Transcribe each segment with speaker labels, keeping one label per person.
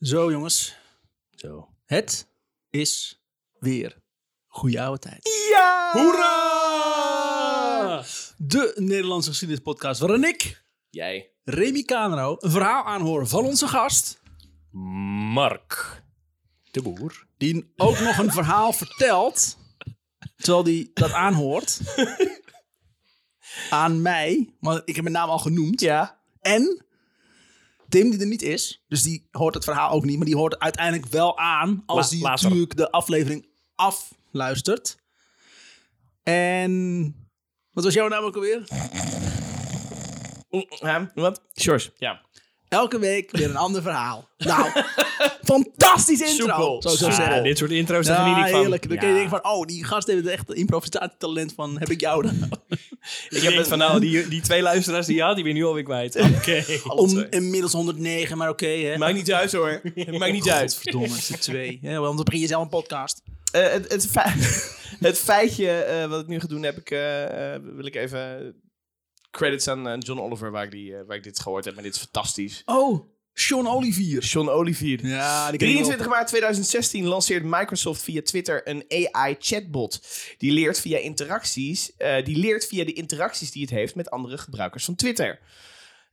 Speaker 1: Zo jongens. Zo. Het is weer goede oude tijd.
Speaker 2: Ja!
Speaker 1: Hoera! De Nederlandse geschiedenis podcast waarin ik,
Speaker 2: Jij.
Speaker 1: Remy Kanero, een verhaal aanhoor van onze gast.
Speaker 2: Mark. De boer.
Speaker 1: Die ook nog een verhaal vertelt, terwijl die dat aanhoort. Aan mij, want ik heb mijn naam al genoemd.
Speaker 2: Ja.
Speaker 1: En Tim, die er niet is, dus die hoort het verhaal ook niet, maar die hoort uiteindelijk wel aan als
Speaker 2: La-
Speaker 1: die
Speaker 2: later.
Speaker 1: natuurlijk de aflevering afluistert. En wat was jouw naam ook alweer?
Speaker 2: Mm, Wat? George. Ja.
Speaker 1: Elke week weer een ander verhaal. Nou, fantastisch intro.
Speaker 2: Soepel.
Speaker 1: Zou ik zo
Speaker 2: Ah,
Speaker 1: zeggen.
Speaker 2: dit soort intro's, daar
Speaker 1: Ja,
Speaker 2: geniet ik van.
Speaker 1: heerlijk. Nou, Dan kun je
Speaker 2: Ja.
Speaker 1: denken van, oh, die gast heeft echt een improvisatietalent van, heb ik jou dan?
Speaker 2: Ik heb het van nou, die, die twee luisteraars die je had, die ben je nu alweer kwijt. Oké.
Speaker 1: Om, inmiddels 109, maar oké hè.
Speaker 3: Maakt niet uit hoor. Maakt niet uit.
Speaker 1: Godverdomme, het is er twee. Ja, want dan begin je zelf een podcast.
Speaker 3: Eh, het, het, fe- het feitje eh, wat ik nu ga doen, heb ik, eh, eh, wil ik even credits aan eh, John Oliver, waar ik, die, eh, waar ik dit gehoord heb. En dit is fantastisch.
Speaker 1: Oh, Sean Olivier.
Speaker 3: John Olivier.
Speaker 1: Ja, die
Speaker 3: 23 maart 2016 lanceert Microsoft via Twitter een AI-chatbot. Die leert via interacties, eh, die leert via de interacties die het heeft met andere gebruikers van Twitter.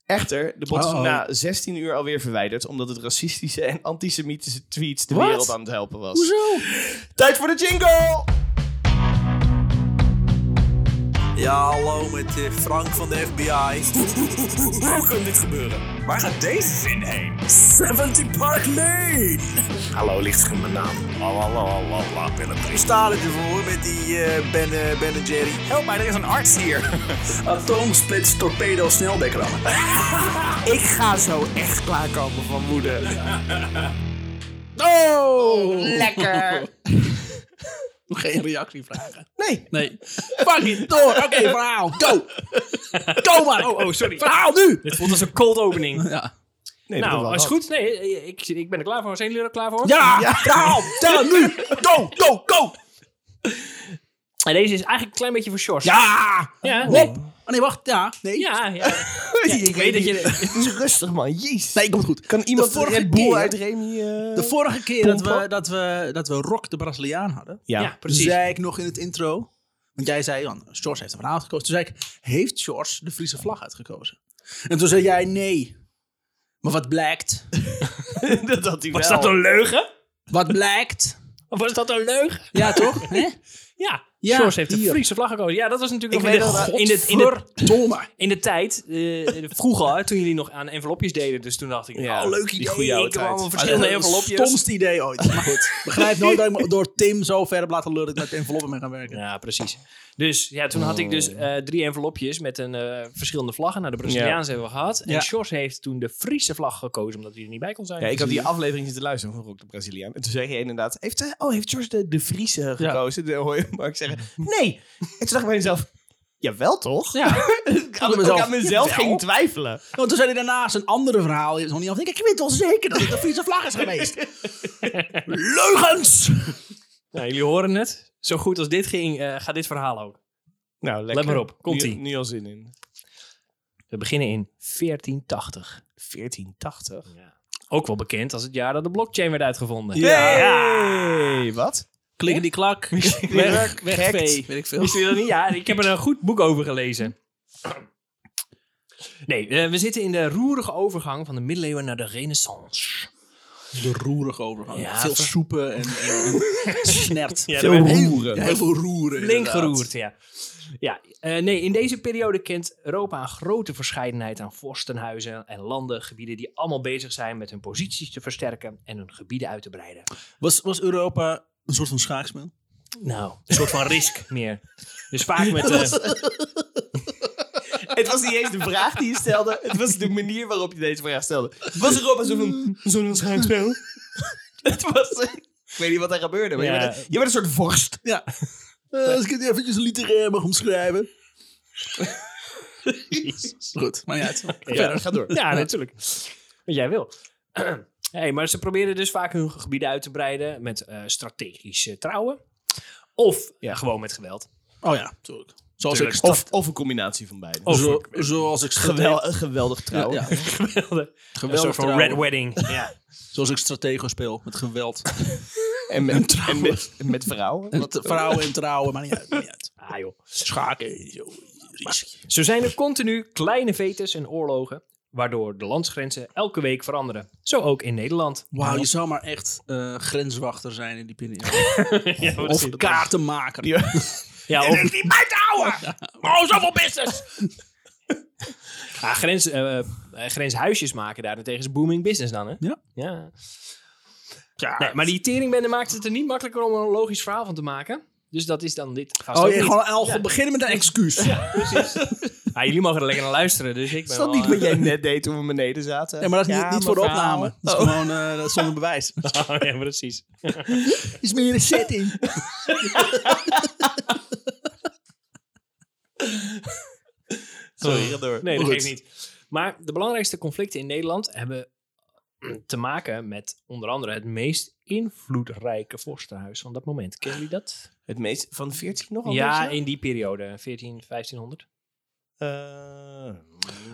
Speaker 3: Echter, de bot is
Speaker 1: Uh-oh.
Speaker 3: na 16 uur alweer verwijderd, omdat het racistische en antisemitische tweets de
Speaker 1: Wat?
Speaker 3: wereld aan het helpen was.
Speaker 1: Hoezo?
Speaker 3: Tijd voor de jingle!
Speaker 4: Ja, hallo met eh, Frank van de FBI. Hoe kan dit gebeuren? Waar gaat deze zin heen? 70 Park Lane! Hallo, ligt in mijn naam. Lalalala, Willem. Ik sta er voor met die eh, ben, eh, ben en Jerry. Help mij, er is een arts hier. Atoomsplits, torpedo, snelbekrammen. Ik ga zo echt klaarkomen van woede.
Speaker 1: Oh!
Speaker 3: Lekker!
Speaker 1: Geen reactie vragen.
Speaker 3: Nee,
Speaker 1: Nee. Fucking door. Oké, verhaal. Go. Go maar. Oh, oh, sorry. Verhaal nu.
Speaker 2: Dit voelt als een cold opening.
Speaker 1: Ja.
Speaker 3: nee dat
Speaker 2: nou,
Speaker 3: wel
Speaker 2: als het
Speaker 3: wat.
Speaker 2: goed. Nee, ik, ik ben er klaar voor. Zijn jullie er klaar voor?
Speaker 1: Ja, verhaal. Tel het nu. Go, go, go.
Speaker 2: En deze is eigenlijk een klein beetje voor George.
Speaker 1: Ja.
Speaker 2: Ja.
Speaker 1: Hop. Oh, nee, wacht. Ja. Nee.
Speaker 2: Ja, ja.
Speaker 3: Ja,
Speaker 2: ik weet dat je...
Speaker 3: Het is rustig, man. Jezus.
Speaker 1: Nee, komt goed.
Speaker 3: kan iemand
Speaker 1: de vorige
Speaker 3: Red Bull
Speaker 1: keer-
Speaker 3: uit Remy... eh,
Speaker 1: De vorige keer dat we,
Speaker 3: Pompen.
Speaker 1: dat, we, dat we Rock de Braziliaan hadden,
Speaker 2: Ja,
Speaker 3: ja.
Speaker 2: precies.
Speaker 1: zei ik nog in het intro. Want jij zei, dan, George heeft een verhaal gekozen. Toen zei ik, heeft George de Friese vlag uitgekozen? En toen zei jij, nee. Maar wat blijkt?
Speaker 3: dat had hij
Speaker 2: Was
Speaker 3: wel.
Speaker 2: dat een leugen?
Speaker 1: Wat blijkt?
Speaker 2: Of was dat een leugen?
Speaker 1: Ja, toch? Hè?
Speaker 2: Ja.
Speaker 1: Ja,
Speaker 2: George heeft de
Speaker 1: hier.
Speaker 2: Friese vlag gekozen. Ja, dat was natuurlijk
Speaker 3: Ik
Speaker 2: nog in
Speaker 3: weet
Speaker 2: de,
Speaker 3: dat-
Speaker 2: in de, in de,
Speaker 1: Verdomme.
Speaker 2: in de tijd, eh, vroeger, hè, toen jullie nog aan envelopjes deden. Dus toen dacht ik,
Speaker 3: Ja,
Speaker 2: oh, leuk
Speaker 3: die
Speaker 2: idee.
Speaker 3: goeie oude
Speaker 2: ik kwam
Speaker 3: tijd.
Speaker 2: allemaal
Speaker 1: Ah, Dat is
Speaker 2: verschillende
Speaker 1: het
Speaker 2: envelopjes.
Speaker 1: stomste idee ooit. Maar goed, begrijp nooit dat ik me door Tim zo ver heb laten lullen dat ik met enveloppen mee gaan werken.
Speaker 2: Ja, precies. Dus ja, toen had ik dus
Speaker 1: Oh.
Speaker 2: eh, drie envelopjes met een, eh, verschillende vlaggen. Nou, de Braziliaanse hebben we gehad.
Speaker 1: Ja.
Speaker 2: En Sjors heeft toen de Friese vlag gekozen, omdat hij er niet bij kon zijn. Dus-
Speaker 3: Ja, ik had die aflevering zitten luisteren van Rock de Braziliaan. En toen zei je inderdaad... Heeft, eh, oh, heeft George de, de Friese gekozen? Dan hoor je Mark zeggen... Nee. En toen dacht ik bij mezelf... Jawel toch?
Speaker 2: Ja.
Speaker 3: ik had ik
Speaker 1: mezelf,
Speaker 3: aan mezelf
Speaker 1: jawel.
Speaker 3: ging twijfelen.
Speaker 1: Want Nou, toen zei hij daarnaast een andere verhaal. die is nog niet af. Ik denk, ik weet wel zeker dat het de Friese vlag is geweest. Leugens!
Speaker 2: Nou, jullie horen het. Zo goed als dit ging, eh, gaat dit verhaal ook.
Speaker 3: Nou, lekker.
Speaker 2: maar op. Komt-ie.
Speaker 3: Nu, nu al zin in.
Speaker 2: We beginnen in 1480.
Speaker 3: 1480.
Speaker 2: Ook wel bekend als het jaar dat de blockchain werd uitgevonden.
Speaker 3: Hey, wat?
Speaker 1: Klikken die klak. Weg, weg,
Speaker 3: Gekt.
Speaker 1: vee. Weet ik veel.
Speaker 2: Wisten jullie dat niet? Ja, ik heb er een goed boek over gelezen. Nee, eh, we zitten in de roerige overgang van de middeleeuwen naar de renaissance.
Speaker 1: De roerige overgang.
Speaker 2: Ja,
Speaker 1: veel
Speaker 2: ver-
Speaker 1: soepen en, en snert.
Speaker 2: Ja,
Speaker 1: veel
Speaker 2: er werd
Speaker 1: roeren. Ja, heel veel roeren.
Speaker 2: Flink
Speaker 1: inderdaad.
Speaker 2: geroerd, ja. ja eh, nee, in deze periode kent Europa een grote verscheidenheid aan vorstenhuizen en landen, gebieden die allemaal bezig zijn met hun posities te versterken en hun gebieden uit te breiden.
Speaker 1: Was, was Europa een soort van schaakspel?
Speaker 2: Nou, een soort van risk meer. Dus vaak met... eh,
Speaker 3: Het was niet eens de vraag die je stelde. Het was de manier waarop je deze vraag stelde. Was Europa zo'n zo'n schaakspel? het was... Ik weet niet wat er gebeurde, maar
Speaker 2: Ja.
Speaker 3: je, werd een, je werd een soort vorst.
Speaker 1: Ja. Eh, als ik het eventjes literair mag omschrijven. Goed, maar ja, het
Speaker 3: Ja, ga door.
Speaker 2: Ja, natuurlijk. Wat jij wil. hey, maar ze probeerden dus vaak hun gebieden uit te breiden met eh, strategische trouwen. Of ja. gewoon met geweld.
Speaker 1: Oh ja, natuurlijk. Zoals
Speaker 2: Tuurlijk.
Speaker 1: ik
Speaker 3: Of, of een combinatie van beide.
Speaker 2: Of-
Speaker 1: zo, zoals ik strate-
Speaker 3: Gewel- een geweldig trouw.
Speaker 1: Ja, ja.
Speaker 2: Geweldig. Een
Speaker 1: geweldig
Speaker 2: soort van
Speaker 1: trouwen.
Speaker 2: Red Wedding. Ja.
Speaker 1: Zoals ik stratego speel, met geweld.
Speaker 3: En met, en met, met vrouwen.
Speaker 1: En dat- vrouwen en trouwen, maar niet uit. maakt niet uit.
Speaker 2: Ah joh.
Speaker 1: Schaken, zo, riesje.
Speaker 2: Zo zijn er continu kleine vetes en oorlogen, waardoor de landsgrenzen elke week veranderen. Zo ook in Nederland.
Speaker 1: Wauw, je zou maar echt eh, grenswachter zijn in die periode.
Speaker 2: Ja, precies.
Speaker 1: Of kaartenmaker.
Speaker 2: Ja, of-
Speaker 1: Niet bij te houden! Oh, zoveel business!
Speaker 2: Ja, grens, eh, eh, grenshuisjes maken daarentegen is booming business dan, hè?
Speaker 1: Ja.
Speaker 2: ja.
Speaker 1: Ja.
Speaker 2: Nee, maar die teringbende maakt het er niet makkelijker om er een logisch verhaal van te maken. Dus dat is dan dit. Vast
Speaker 1: Oh,
Speaker 2: ook
Speaker 1: je
Speaker 2: niet.
Speaker 1: gewoon al
Speaker 2: Ja.
Speaker 1: beginnen met een excuus.
Speaker 2: Ja, precies. Ah, jullie mogen er lekker naar luisteren, dus ik ben
Speaker 3: Is dat
Speaker 2: wel,
Speaker 3: niet
Speaker 2: eh,
Speaker 3: wat jij net deed toen we beneden zaten?
Speaker 1: Nee, maar dat is niet, niet voor de
Speaker 3: mevrouw.
Speaker 1: opname. Dat
Speaker 3: Oh.
Speaker 1: is gewoon eh, dat is zonder bewijs.
Speaker 2: Oh, ja, precies.
Speaker 1: is meer een setting.
Speaker 3: Sorry, ga door.
Speaker 2: Nee, dat
Speaker 1: Goed.
Speaker 2: geeft niet. Maar de belangrijkste conflicten in Nederland hebben mm, te maken met onder andere het meest invloedrijke vorstenhuis van dat moment. Kennen jullie dat?
Speaker 3: Het meest van 14 nog al
Speaker 2: Ja,
Speaker 3: deze?
Speaker 2: in die periode, 14, 1500.
Speaker 3: Eh,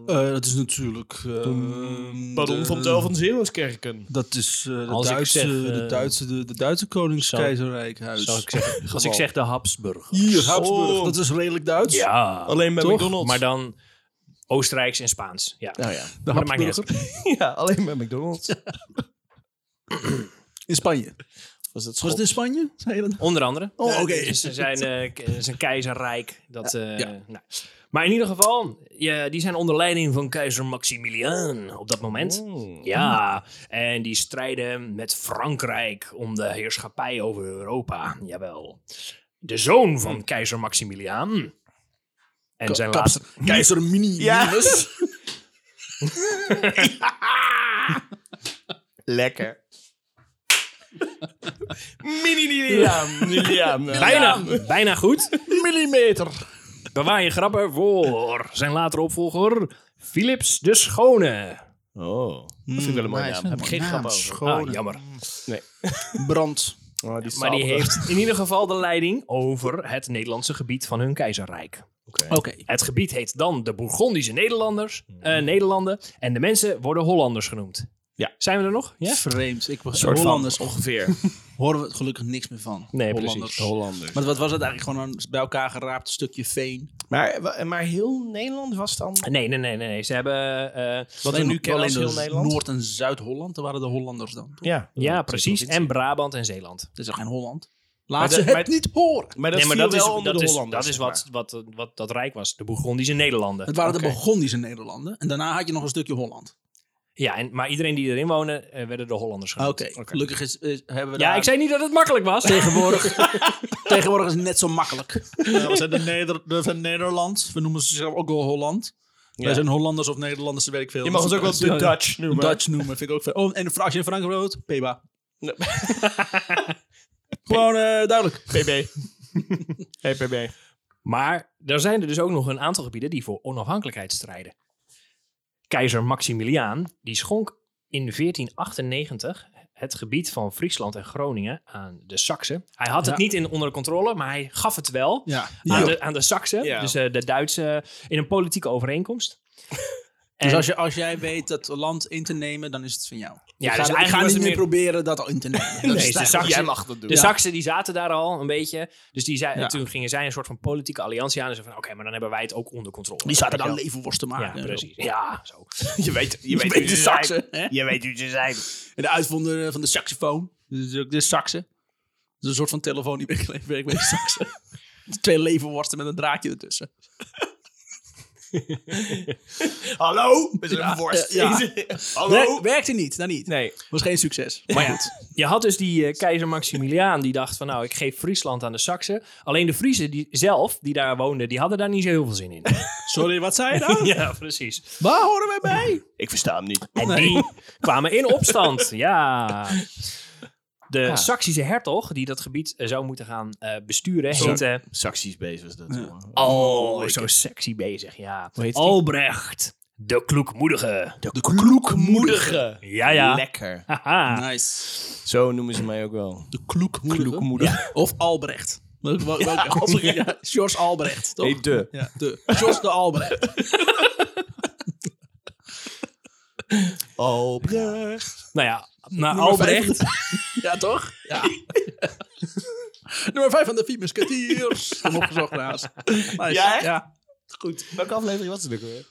Speaker 1: dat is natuurlijk... ehm,
Speaker 3: Baron van Tel van Zeeuwenskerken.
Speaker 1: Dat is eh, de,
Speaker 2: Als ik
Speaker 1: Duitse,
Speaker 2: zeg,
Speaker 1: de
Speaker 2: eh,
Speaker 1: Duitse, de, de Duitse Koningskeizerrijkhuis.
Speaker 2: Zal ik zeggen, als ik zeg de Habsburg.
Speaker 1: Hier, Habsburg.
Speaker 3: Oh.
Speaker 1: Dat is redelijk Duits.
Speaker 2: Ja,
Speaker 3: Alleen bij
Speaker 1: Toch?
Speaker 3: McDonald's.
Speaker 2: maar dan Oostenrijks en Spaans. Ja.
Speaker 3: Nou ja.
Speaker 1: de
Speaker 2: maar dat maakt niet
Speaker 1: Habsburger.
Speaker 3: ja, alleen bij McDonald's.
Speaker 1: In Spanje.
Speaker 3: Was dat
Speaker 1: Was het in Spanje? Zei je dat?
Speaker 2: Onder andere.
Speaker 1: Oh,
Speaker 2: Eh,
Speaker 1: oké.
Speaker 2: Dus er zijn, eh, k- er is een keizerrijk. Dat, eh, nou. Maar in ieder geval, ja, die zijn onder leiding van keizer Maximiliaan op dat moment.
Speaker 1: Oh.
Speaker 3: Mm.
Speaker 2: Ja, en die strijden met Frankrijk om de heerschappij over Europa. Jawel. De zoon van keizer Maximiliaan. En zijn laatste...
Speaker 1: Hm. Kapster. Keizer Mini.
Speaker 3: Ja.
Speaker 1: Minus.
Speaker 3: Lekker. Mini Liliaan. Liliaan.
Speaker 2: Bijna, bijna goed.
Speaker 1: Millimeter.
Speaker 2: Bewaar je grappen voor zijn latere opvolger, Philips de Schone.
Speaker 3: Oh, dat vind ik wel een mooie
Speaker 1: nice.
Speaker 3: naam. Heb ik geen grap
Speaker 1: Naam,
Speaker 3: over.
Speaker 2: Ah, jammer.
Speaker 1: Brand.
Speaker 3: Oh, die
Speaker 2: Maar die
Speaker 3: salve.
Speaker 2: heeft in ieder geval de leiding over het Nederlandse gebied van hun keizerrijk.
Speaker 3: Oké.
Speaker 1: Oké.
Speaker 2: Het gebied heet dan de Bourgondische Nederlanders, eh, Nederlanden en de mensen worden Hollanders genoemd.
Speaker 3: Ja.
Speaker 2: Zijn we er nog? Ja?
Speaker 1: Vreemd. Ik was
Speaker 3: soort van
Speaker 1: Hollanders.
Speaker 3: ongeveer.
Speaker 1: Horen we gelukkig niks meer van.
Speaker 2: Nee, precies.
Speaker 1: Hollanders.
Speaker 3: Hollanders.
Speaker 1: Maar wat was het eigenlijk? Gewoon een bij elkaar geraapt stukje veen.
Speaker 3: Maar, wa- maar heel Nederland was dan...
Speaker 2: Nee, nee, nee, nee. nee. Ze hebben... eh,
Speaker 1: Wat
Speaker 3: we nu kennen als heel Nederland?
Speaker 1: Noord- en Zuid-Holland, daar waren de Hollanders dan. toch?
Speaker 3: Ja,
Speaker 2: ja, precies. En Brabant en Zeeland.
Speaker 1: Dat is toch geen Holland? Laat
Speaker 3: Maar
Speaker 1: ze
Speaker 3: dat-
Speaker 1: het niet horen.
Speaker 3: Maar dat,
Speaker 2: nee, maar
Speaker 3: viel
Speaker 2: dat is,
Speaker 3: wel onder
Speaker 2: dat,
Speaker 3: de
Speaker 2: is,
Speaker 3: Hollanders.
Speaker 2: dat is
Speaker 3: zeg
Speaker 2: wat, wat, wat, dat rijk was. De Bourgondische Nederlanden.
Speaker 1: Het waren
Speaker 3: Oké.
Speaker 1: de Burgondische Nederlanden. En daarna had je nog een stukje Holland.
Speaker 2: Ja, en, maar iedereen die erin woonde, eh, werden de Hollanders
Speaker 1: Oké,
Speaker 2: genoemd.
Speaker 1: gelukkig is, is- hebben we
Speaker 2: Ja,
Speaker 1: daar...
Speaker 2: ik zei niet dat het makkelijk was.
Speaker 1: Tegenwoordig, tegenwoordig is het net zo makkelijk. Eh, we zijn de, Neder de van Nederland. We noemen zichzelf ook wel Holland. Wij zijn Hollanders of Nederlanders, dat weet ik veel.
Speaker 3: Je mag ons ook wel
Speaker 1: Ja, ja.
Speaker 3: de Dutch noemen.
Speaker 1: Dutch noemen, vind ik ook veel. Oh, en als je in Frankrijk woont, Peba. Gewoon eh, duidelijk.
Speaker 3: PB. hey PB.
Speaker 2: Maar er zijn er dus ook nog een aantal gebieden die voor onafhankelijkheid strijden. Keizer Maximiliaan die schonk in 1498 het gebied van Friesland en Groningen aan de Saksen. Hij had het
Speaker 1: Ja.
Speaker 2: niet in onder controle, maar hij gaf het wel
Speaker 1: Ja.
Speaker 2: aan, de, aan de Saksen,
Speaker 3: Ja.
Speaker 2: dus eh, de Duitse, in een politieke overeenkomst.
Speaker 1: Dus
Speaker 2: En-
Speaker 1: als, je, als jij weet dat land in te nemen, dan is het van jou.
Speaker 2: Ja,
Speaker 1: ik
Speaker 2: dus
Speaker 1: ga, ik
Speaker 2: eigenlijk
Speaker 1: ga
Speaker 2: was
Speaker 1: niet
Speaker 2: het
Speaker 1: meer
Speaker 2: meer-
Speaker 1: proberen dat al in te nemen. Dat is
Speaker 2: de Dus-
Speaker 1: eigenlijk-
Speaker 2: Saksen-
Speaker 3: Jij mag dat doen.
Speaker 2: De Saksen die zaten daar al een beetje. Dus die zei,
Speaker 1: Ja.
Speaker 2: toen gingen zij een soort van politieke alliantie aan. En ze van, oké, maar dan hebben wij het ook onder controle.
Speaker 1: Die zaten dan
Speaker 2: Weet
Speaker 1: levenworst te
Speaker 2: je
Speaker 1: maken.
Speaker 2: wel? Ja, precies. Ja, zo.
Speaker 3: je weet, je
Speaker 1: Je
Speaker 3: weet
Speaker 1: weet de
Speaker 3: hoe ze zijn.
Speaker 1: Saksen. hè?
Speaker 3: Je weet hoe ze zijn.
Speaker 1: En de uitvonder eh, van de saxofoon. Dus ook de Saksen. Dat is een soort van telefoon die weggeleverd werkt bij de Saksen. Twee levenworsten met een draadje ertussen.
Speaker 3: Hallo? We zijn
Speaker 1: Ja,
Speaker 3: een worst.
Speaker 1: ja.
Speaker 3: Hallo?
Speaker 1: Wer- werkte niet, nou niet.
Speaker 3: Nee.
Speaker 1: Was geen succes. Maar goed.
Speaker 2: Je had dus die eh, keizer Maximiliaan die dacht van nou, ik geef Friesland aan de Saksen. Alleen de Friesen die, zelf, die daar woonden, die hadden daar niet zo heel veel zin in.
Speaker 1: Sorry, wat zei je nou?
Speaker 2: ja, precies.
Speaker 1: Waar horen wij bij?
Speaker 3: Ik versta hem niet.
Speaker 2: En die kwamen in opstand. ja. De Saksische hertog die dat gebied eh, zou moeten gaan eh, besturen
Speaker 3: Zo.
Speaker 2: heette...
Speaker 3: Saksies bezig is dat. jongen.
Speaker 2: Oh, zo sexy bezig, ja.
Speaker 3: heet die?
Speaker 2: Albrecht, de kloekmoedige.
Speaker 3: De kloekmoedige.
Speaker 2: Ja, ja.
Speaker 3: Lekker.
Speaker 2: Haha.
Speaker 1: Nice.
Speaker 3: Zo noemen ze mij ook wel.
Speaker 1: De kloekmoeder.
Speaker 3: Kloekmoedig.
Speaker 1: Of Albrecht. Welke, welke, welke- ja, George Albrecht, toch?
Speaker 3: Nee, de.
Speaker 1: Ja, de. George de Albrecht.
Speaker 3: Albrecht.
Speaker 2: Nou ja, naar
Speaker 1: Nummer vijf.
Speaker 2: Albrecht.
Speaker 1: Ja, toch? Ja. Nummer 5 van de Vier Musketeers. Hem opgezocht naast. Nice.
Speaker 3: Ja, hè?
Speaker 1: ja.
Speaker 3: Goed. Welke aflevering was het ook alweer?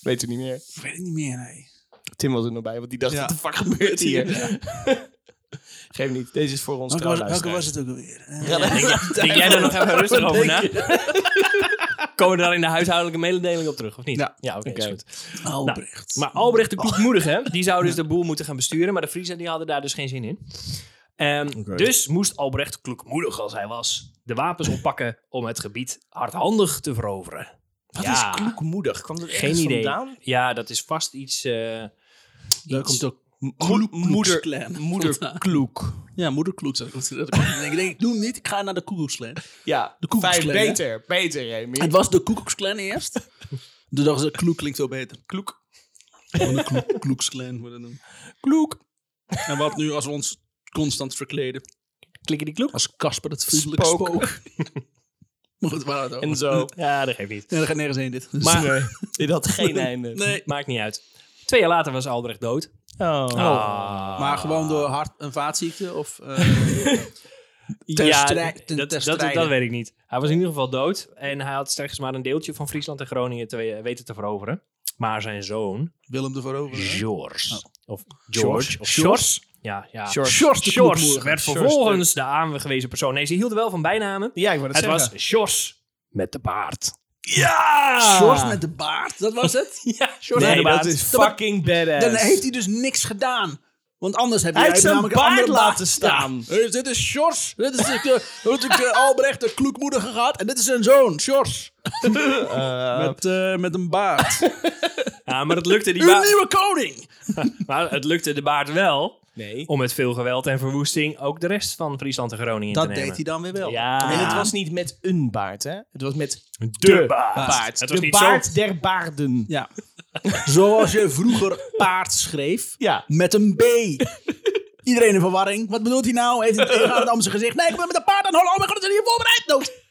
Speaker 3: Weet u niet meer.
Speaker 1: Ik weet het niet meer, nee.
Speaker 3: Tim was er nog bij, want die dacht,
Speaker 1: Ja.
Speaker 3: wat de fuck gebeurt hier? Geef niet, deze is voor ons
Speaker 1: Welke was,
Speaker 3: trouwens.
Speaker 1: welke was het ook alweer? Eh,
Speaker 2: Denk jij daar nog even rustig
Speaker 1: Wat
Speaker 2: over
Speaker 1: denk
Speaker 2: na? Komen we daar in de huishoudelijke mededeling op terug, of niet?
Speaker 1: Ja.
Speaker 2: oké, is
Speaker 3: Oké.
Speaker 2: goed.
Speaker 1: Nou, Albrecht.
Speaker 2: Maar Albrecht de Kloekmoedige, die zou dus de boel moeten gaan besturen. Maar de Friesen die hadden daar dus geen zin in. Ehm, Dus moest Albrecht, kloekmoedig als hij was, de wapens oppakken om het gebied hardhandig te veroveren.
Speaker 3: Wat
Speaker 2: Ja.
Speaker 3: is kloekmoedig? Kwam dat
Speaker 2: Geen
Speaker 3: ergens
Speaker 2: idee.
Speaker 3: vandaan?
Speaker 2: Ja, dat is vast iets... eh,
Speaker 1: Daar
Speaker 2: iets-
Speaker 1: komt ook
Speaker 3: Kloek- moeder-
Speaker 1: Kloeksklan.
Speaker 3: Moeder kloek.
Speaker 1: Ja, moeder Kloek. zou ik moeten zeggen. Ik denk, ik denk, ik doe hem niet. Ik ga naar de Koekoeksklan.
Speaker 3: Ja,
Speaker 1: De koekoeksklan,
Speaker 3: fijn,
Speaker 1: hè?
Speaker 3: beter, beter, Remy.
Speaker 1: Het was de Koekoeksklan eerst. Toen dachten ze, Kloek klinkt veel beter.
Speaker 3: kloek.
Speaker 1: Gewoon de Kloek- Kloeksklan worden dan.
Speaker 3: Kloek.
Speaker 1: En wat nu als we ons constant verkleden?
Speaker 2: Klikken die kloek?
Speaker 1: Als Casper het vriendelijke
Speaker 3: Spook.
Speaker 1: spook. maar goed, waar het over.
Speaker 3: En zo.
Speaker 2: Ja, dat geeft niet.
Speaker 1: Nee, er gaat nergens heen dit. Dus- eh,
Speaker 2: Maar
Speaker 3: Dit had geen einde.
Speaker 1: nee.
Speaker 2: maakt niet uit. Twee jaar later was Albrecht dood.
Speaker 3: Oh.
Speaker 2: Ah.
Speaker 1: Maar gewoon door hart- en vaatziekte of... eh, ter
Speaker 2: ja,
Speaker 1: strijd- ten-
Speaker 2: dat,
Speaker 1: ter
Speaker 2: dat, dat,
Speaker 1: strijde.
Speaker 2: weet ik niet. Hij was in ieder geval dood. En hij had slechts maar een deeltje van Friesland en Groningen te we- weten te veroveren. Maar zijn zoon,
Speaker 1: Willem de Voorover. hè?
Speaker 2: George. Of
Speaker 1: Mhm. George.
Speaker 2: George. Of
Speaker 1: George.
Speaker 2: George. Ja, ja.
Speaker 3: George.
Speaker 1: George de
Speaker 2: George
Speaker 1: Kloekmoedige.
Speaker 2: werd
Speaker 3: George
Speaker 2: vervolgens de aangewezen persoon. Nee, ze hielden wel van bijnamen.
Speaker 3: Ja, ik wou dat
Speaker 2: Het was
Speaker 3: zeggen.
Speaker 2: George met de baard.
Speaker 1: George met de baard, dat was het?
Speaker 2: Ja, George
Speaker 3: Nee,
Speaker 2: met de baard.
Speaker 3: dat is
Speaker 1: Dat-
Speaker 3: fucking badass.
Speaker 1: Dan heeft hij dus niks gedaan. Want anders heb je
Speaker 3: Hij heeft zijn
Speaker 1: namelijk een
Speaker 3: baard
Speaker 1: andere
Speaker 3: laten staan.
Speaker 1: Ja. Eh, Dit is George. Dit is de, de, hoe heb ik, eh, Albrecht de kloekmoedige gehad. En dit is zijn zoon, George. met, eh, met een baard.
Speaker 2: Ja, maar het lukte, die
Speaker 1: Uw
Speaker 2: ba-
Speaker 1: nieuwe koning.
Speaker 2: maar het lukte de baard wel.
Speaker 3: nee.
Speaker 2: Om met veel geweld en verwoesting ook de rest van Friesland en Groningen
Speaker 1: Dat
Speaker 2: in te nemen.
Speaker 1: deed hij dan weer wel.
Speaker 2: Ja.
Speaker 3: En het was niet met een baard, hè? Het was met
Speaker 2: de baard.
Speaker 3: baard.
Speaker 2: Het was
Speaker 3: de
Speaker 2: niet
Speaker 3: baard
Speaker 2: zo.
Speaker 3: der baarden.
Speaker 1: Ja. Zoals je vroeger paard schreef.
Speaker 3: Ja.
Speaker 1: Met een B. Iedereen in verwarring. Wat bedoelt hij nou? Heeft hij het tegen het Amsterdamse gezicht? Nee, ik ben met een paard aan het hollen. Oh mijn god, dat is hier voorbereid. Dood.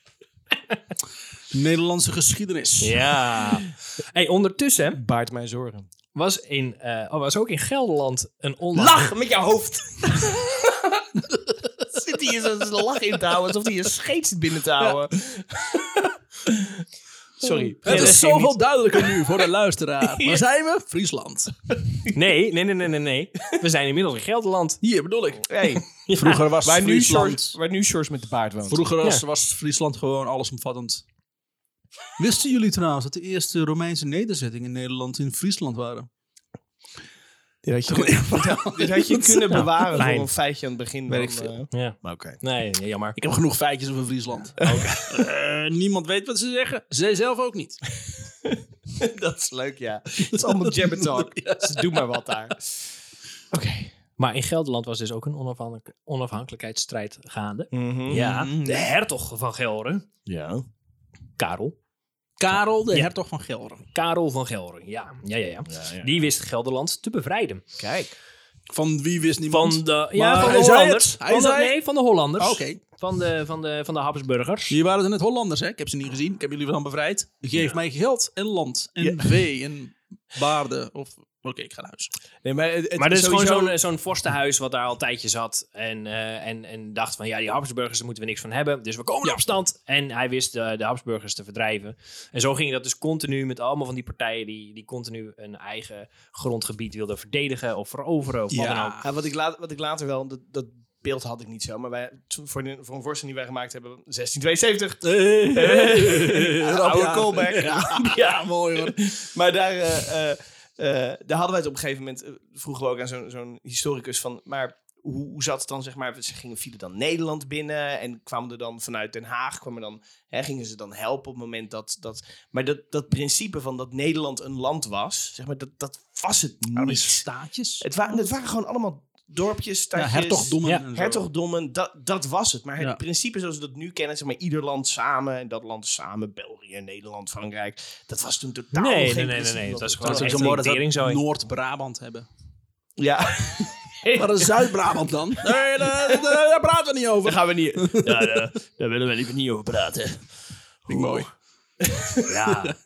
Speaker 1: Nederlandse geschiedenis.
Speaker 2: Ja. hey, ondertussen
Speaker 3: Baard mijn zorgen.
Speaker 2: was, in, eh, oh, was ook in Gelderland een online...
Speaker 3: Lach met je hoofd. Zit hij hier zo zijn lach in te houden, alsof hij je scheet zit binnen te houden. Sorry.
Speaker 1: Het
Speaker 2: dat
Speaker 1: is
Speaker 2: is
Speaker 1: zoveel
Speaker 2: niet.
Speaker 1: duidelijker nu voor de luisteraar. Waar zijn we? Friesland.
Speaker 2: Nee, nee, nee, nee, nee, nee. We zijn inmiddels in Gelderland.
Speaker 1: Hier bedoel ik.
Speaker 3: Hey,
Speaker 1: Vroeger was
Speaker 3: waar, nu
Speaker 1: Friesland.
Speaker 3: George, waar nu George met de baard woont.
Speaker 1: Vroeger was,
Speaker 2: Ja.
Speaker 1: was Friesland gewoon allesomvattend. Wisten jullie trouwens dat de eerste Romeinse nederzettingen in Nederland in Friesland waren?
Speaker 3: Dit had je, dit had je kunnen bewaren
Speaker 2: fijn.
Speaker 3: voor een feitje aan het begin.
Speaker 1: Weet
Speaker 3: van,
Speaker 1: ik veel.
Speaker 3: eh,
Speaker 2: Ja.
Speaker 3: maar oké.
Speaker 2: Nee, nee, jammer.
Speaker 1: Ik heb genoeg feitjes over Friesland. Eh, niemand weet wat ze zeggen. Zij zelf ook niet.
Speaker 3: Dat is leuk, ja. eh, Het is allemaal jabber talk. Dus doe maar wat daar. Oké.
Speaker 2: Maar in Gelderland was dus ook een onafhankelijk- onafhankelijkheidsstrijd gaande.
Speaker 3: Mhm.
Speaker 1: Mhm.
Speaker 2: Ja, de hertog van Gelre,
Speaker 3: Ja.
Speaker 2: Karel.
Speaker 1: Karel, de
Speaker 2: Ja.
Speaker 1: hertog van Gelre.
Speaker 2: Karel van Gelre, ja. Ja, ja, ja.
Speaker 3: ja.
Speaker 2: Die wist Gelderland te bevrijden.
Speaker 3: Kijk.
Speaker 1: Van wie wist niemand?
Speaker 2: Van de, ja,
Speaker 1: Maar
Speaker 2: van de
Speaker 1: hij zei
Speaker 2: Hollanders.
Speaker 1: het. Hij
Speaker 2: Van de,
Speaker 1: zei-
Speaker 2: nee, van de Hollanders.
Speaker 1: Ah, Oké.
Speaker 2: Van, de, van, de, van de Habsburgers.
Speaker 1: Hier waren ze net Hollanders, hè? Ik heb ze niet gezien. Ik heb jullie wel bevrijd. Geef mij geld en land en vee en baarden. Of... Oké, ik ga naar huis.
Speaker 3: Nee, maar het, het
Speaker 2: Maar dit is
Speaker 3: sowieso-
Speaker 2: gewoon zo'n, zo'n vorstenhuis wat daar al een tijdje zat. En, eh, en, en dacht van, ja, die Habsburgers, daar moeten we niks van hebben. Dus we komen in opstand. En hij wist eh, de Habsburgers te verdrijven. En zo ging dat dus continu met allemaal van die partijen... die, die continu een eigen grondgebied wilden verdedigen of veroveren. Of wat dan ook.
Speaker 3: Ja, wat, ik laat, wat ik later wel, dat, dat beeld had ik niet zo, maar wij, toen- voor, de- voor een voorstelling die wij gemaakt hebben, 1672. Oude
Speaker 1: Ja.
Speaker 3: callback.
Speaker 1: Ja, mooi hoor.
Speaker 3: Maar daar, eh, eh, eh, daar hadden wij het op een gegeven moment, eh, vroegen we ook aan zo'n zo'n historicus van, maar hoe, hoe zat het dan, zeg maar, ze gingen, vielen dan Nederland binnen en kwamen er dan vanuit Den Haag, kwamen dan, hè, gingen ze dan helpen op het moment dat, dat maar dat, dat principe van dat Nederland een land was, zeg maar, dat, dat was het
Speaker 1: Nou,
Speaker 3: niet.
Speaker 1: staatjes.
Speaker 3: Het waren, het waren gewoon allemaal dorpjes,
Speaker 1: Ja,
Speaker 3: stadjes.
Speaker 1: hertogdommen.
Speaker 2: Ja,
Speaker 1: en zo.
Speaker 3: Hertogdommen, dat, dat was het. Maar het
Speaker 1: Ja.
Speaker 3: principe zoals we dat nu kennen, zeg maar ieder land samen, en dat land samen, België, Nederland, Frankrijk, dat was toen totaal
Speaker 2: Nee,
Speaker 3: geen
Speaker 2: nee, nee, nee,
Speaker 3: principe
Speaker 2: nee,
Speaker 3: wat
Speaker 2: het was
Speaker 1: Dat
Speaker 2: gewoon
Speaker 1: is ook
Speaker 2: echt
Speaker 1: zo
Speaker 2: een
Speaker 1: mooi dat we
Speaker 2: teringzooi.
Speaker 1: Noord-Brabant hebben.
Speaker 3: Ja.
Speaker 1: Maar dat is Zuid-Brabant dan. Nee, daar, daar- daar praten we niet over.
Speaker 3: gaan we niet.
Speaker 2: Ja, daar, daar willen we liever niet over praten.
Speaker 1: Vind ik mooi.
Speaker 2: Ja.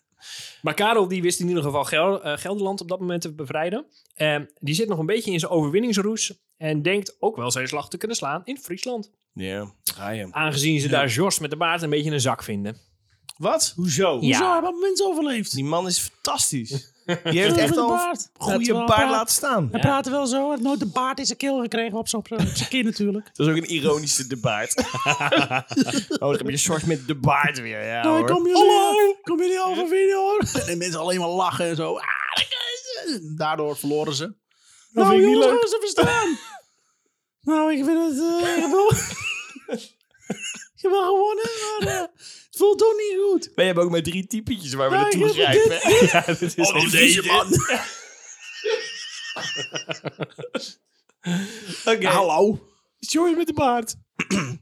Speaker 2: Maar Karel die wist in ieder geval Gel- eh, Gelderland op dat moment te bevrijden. Ehm, die zit nog een beetje in zijn overwinningsroes. En denkt ook wel zijn slag te kunnen slaan in Friesland.
Speaker 3: Ja, ga je.
Speaker 2: Aangezien ze daar Jos met de baard een beetje een zak vinden.
Speaker 3: Wat? Hoezo?
Speaker 1: Hoezo hebben mensen overleefd?
Speaker 3: Die man is fantastisch. Die heeft echt al een goede
Speaker 1: baard
Speaker 3: baard laten staan.
Speaker 2: Ja. praat
Speaker 1: wel zo. Hij nooit de baard in zijn keel gekregen op zijn keer natuurlijk.
Speaker 3: Dat is ook een ironische de baard. oh, dan heb je zorg met de baard weer. Ja, hoor.
Speaker 1: Hallo! Nou, Kom jullie al van video hoor? En de mensen alleen maar lachen en zo. Ah, Daardoor verloren ze. Dat
Speaker 3: vind ik niet leuk.
Speaker 1: ze verstaan. nou, ik vind het... eh, ik heb wel- ik heb wel gewonnen, maar eh, het voelt toch niet goed.
Speaker 3: Wij hebben ook maar drie typetjes waar we
Speaker 1: Ja,
Speaker 3: naartoe
Speaker 1: ik heb
Speaker 3: grijpen. Ja, dat is
Speaker 4: Oh, die vieze man.
Speaker 3: Oké.
Speaker 1: hallo.
Speaker 3: George met de baard.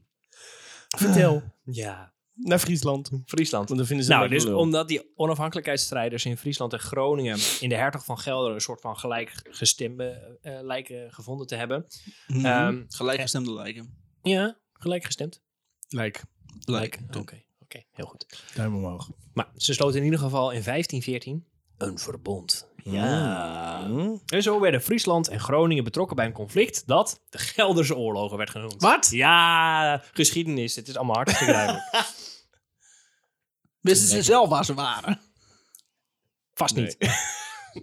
Speaker 3: Vertel.
Speaker 2: Ja.
Speaker 3: Naar Friesland.
Speaker 2: Friesland.
Speaker 3: Want dan vinden ze
Speaker 2: Nou,
Speaker 3: hem leuk
Speaker 2: dus
Speaker 3: lul.
Speaker 2: omdat die onafhankelijkheidsstrijders in Friesland en Groningen in de hertog van Gelder een soort van gelijkgestemde eh, lijken gevonden te hebben.
Speaker 3: Mhm.
Speaker 1: Mhm.
Speaker 2: Ehm,
Speaker 1: Gelijkgestemde lijken.
Speaker 2: ja, gelijkgestemd.
Speaker 3: Like,
Speaker 1: Lijken.
Speaker 2: Oké, oké, heel goed.
Speaker 3: duim omhoog.
Speaker 2: Maar ze sloten in ieder geval in 1514 een verbond. Ja. Mm.
Speaker 3: Hm?
Speaker 2: En zo werden Friesland en Groningen betrokken bij een conflict dat de Gelderse oorlogen werd genoemd.
Speaker 1: Wat?
Speaker 2: Ja, geschiedenis. Het is allemaal hartstikke duidelijk.
Speaker 1: Wisten ze zelf waar ze waren?
Speaker 2: Vast niet.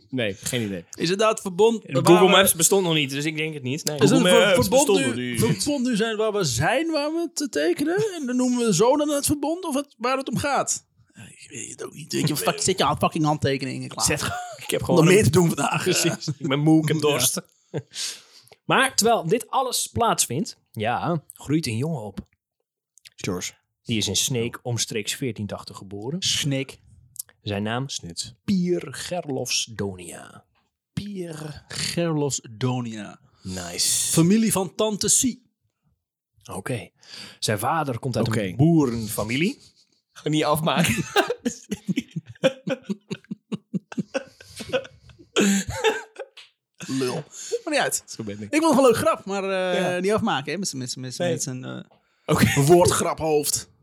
Speaker 3: Nee, geen idee.
Speaker 1: Is het dat verbond...
Speaker 2: Google Maps bestond nog niet, dus ik denk het niet. Nee.
Speaker 1: Is het
Speaker 3: Google
Speaker 1: ver-
Speaker 3: Maps
Speaker 1: verbond,
Speaker 3: bestond
Speaker 1: nu,
Speaker 3: nog niet.
Speaker 1: verbond nu zijn waar we zijn, waar we te tekenen? En dan noemen we zo dan het verbond of het, waar het om gaat? Eh, Ik weet het ook niet. Weet je, fuck, zet je aan fucking handtekeningen klaar.
Speaker 2: Zet gewoon- ik heb
Speaker 1: om er
Speaker 2: gewoon
Speaker 1: meer
Speaker 2: een,
Speaker 1: te doen vandaag.
Speaker 2: precies. Ik ben moe, ik heb dorst. Maar terwijl dit alles plaatsvindt, ja, groeit een jongen op.
Speaker 3: George.
Speaker 2: Die is in Sneek omstreeks 1480 geboren.
Speaker 1: Snik.
Speaker 2: Zijn naam
Speaker 3: Snits.
Speaker 2: Pier Gerlofsdonia.
Speaker 1: Pier Gerlos Donia.
Speaker 3: Nice.
Speaker 1: Familie van Tante Si.
Speaker 2: Oké. Zijn vader komt uit
Speaker 3: Oké.
Speaker 2: een boerenfamilie.
Speaker 3: Ga niet afmaken.
Speaker 1: Lul. Maar niet uit.
Speaker 3: Zo ben ik.
Speaker 1: Ik wil nog een leuk grap, maar eh,
Speaker 3: Ja.
Speaker 1: niet afmaken. Hè? Met, z'n- met, z'n- met, z'n-
Speaker 3: Nee.
Speaker 1: met zijn eh
Speaker 3: Oké.
Speaker 1: woordgraphoofd.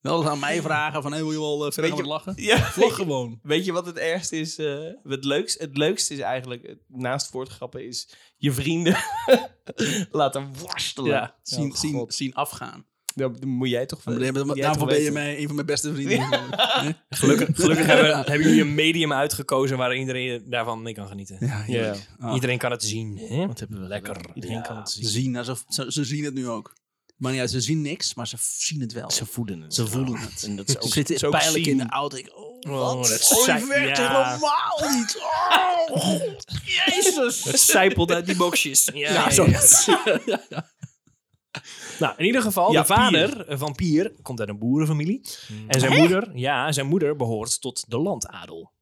Speaker 1: Wel eens aan mij vragen van, hey, wil je wel eh, verder
Speaker 3: Weet je-
Speaker 1: gaan lachen?
Speaker 3: Ja,
Speaker 1: Lach gewoon.
Speaker 3: Weet je wat het ergste is? eh, het, leukste, het leukste is eigenlijk, eh, naast voortgrappen, is je vrienden laten worstelen.
Speaker 2: Ja.
Speaker 1: zien,
Speaker 3: Oh,
Speaker 1: zien,
Speaker 3: God.
Speaker 1: zien afgaan.
Speaker 3: Dat dat moet jij toch
Speaker 1: Dan
Speaker 3: wel-
Speaker 1: ben je-
Speaker 3: jij
Speaker 1: daarvoor
Speaker 3: toch
Speaker 1: ben je
Speaker 3: weten.
Speaker 1: mij een van mijn beste vrienden. Hè?
Speaker 2: Gelukkig, gelukkig hebben, hebben jullie een medium uitgekozen waar iedereen daarvan mee kan genieten.
Speaker 1: Ja, heerlijk. Ah,
Speaker 2: Iedereen kan het zien. Hè? Wat hebben we lekker. Dus- Iedereen
Speaker 3: Ja.
Speaker 2: kan het
Speaker 1: Ze
Speaker 2: zien.
Speaker 1: zien, alsof, ze, ze zien het nu ook. Maar niet uit, ze zien niks, maar ze zien het wel. Ze,
Speaker 3: Ze voeden het.
Speaker 1: voelen het.
Speaker 3: En dat is ook,
Speaker 1: Ze zitten
Speaker 3: is ook
Speaker 1: pijnlijk in de
Speaker 3: zien.
Speaker 1: auto. Ik, oh,
Speaker 2: Oh,
Speaker 1: wat?
Speaker 2: dat
Speaker 1: oh,
Speaker 2: zei-
Speaker 1: je werkt
Speaker 2: ja.
Speaker 1: helemaal niet. Oh, God, jezus.
Speaker 2: Het sijpelt uit die boxjes. Ja, ja,
Speaker 1: zo.
Speaker 2: ja. Nou, in ieder geval,
Speaker 3: Ja,
Speaker 2: de vader van Pier komt uit een boerenfamilie.
Speaker 1: Hmm.
Speaker 2: En zijn moeder, ja, zijn moeder behoort tot de landadel.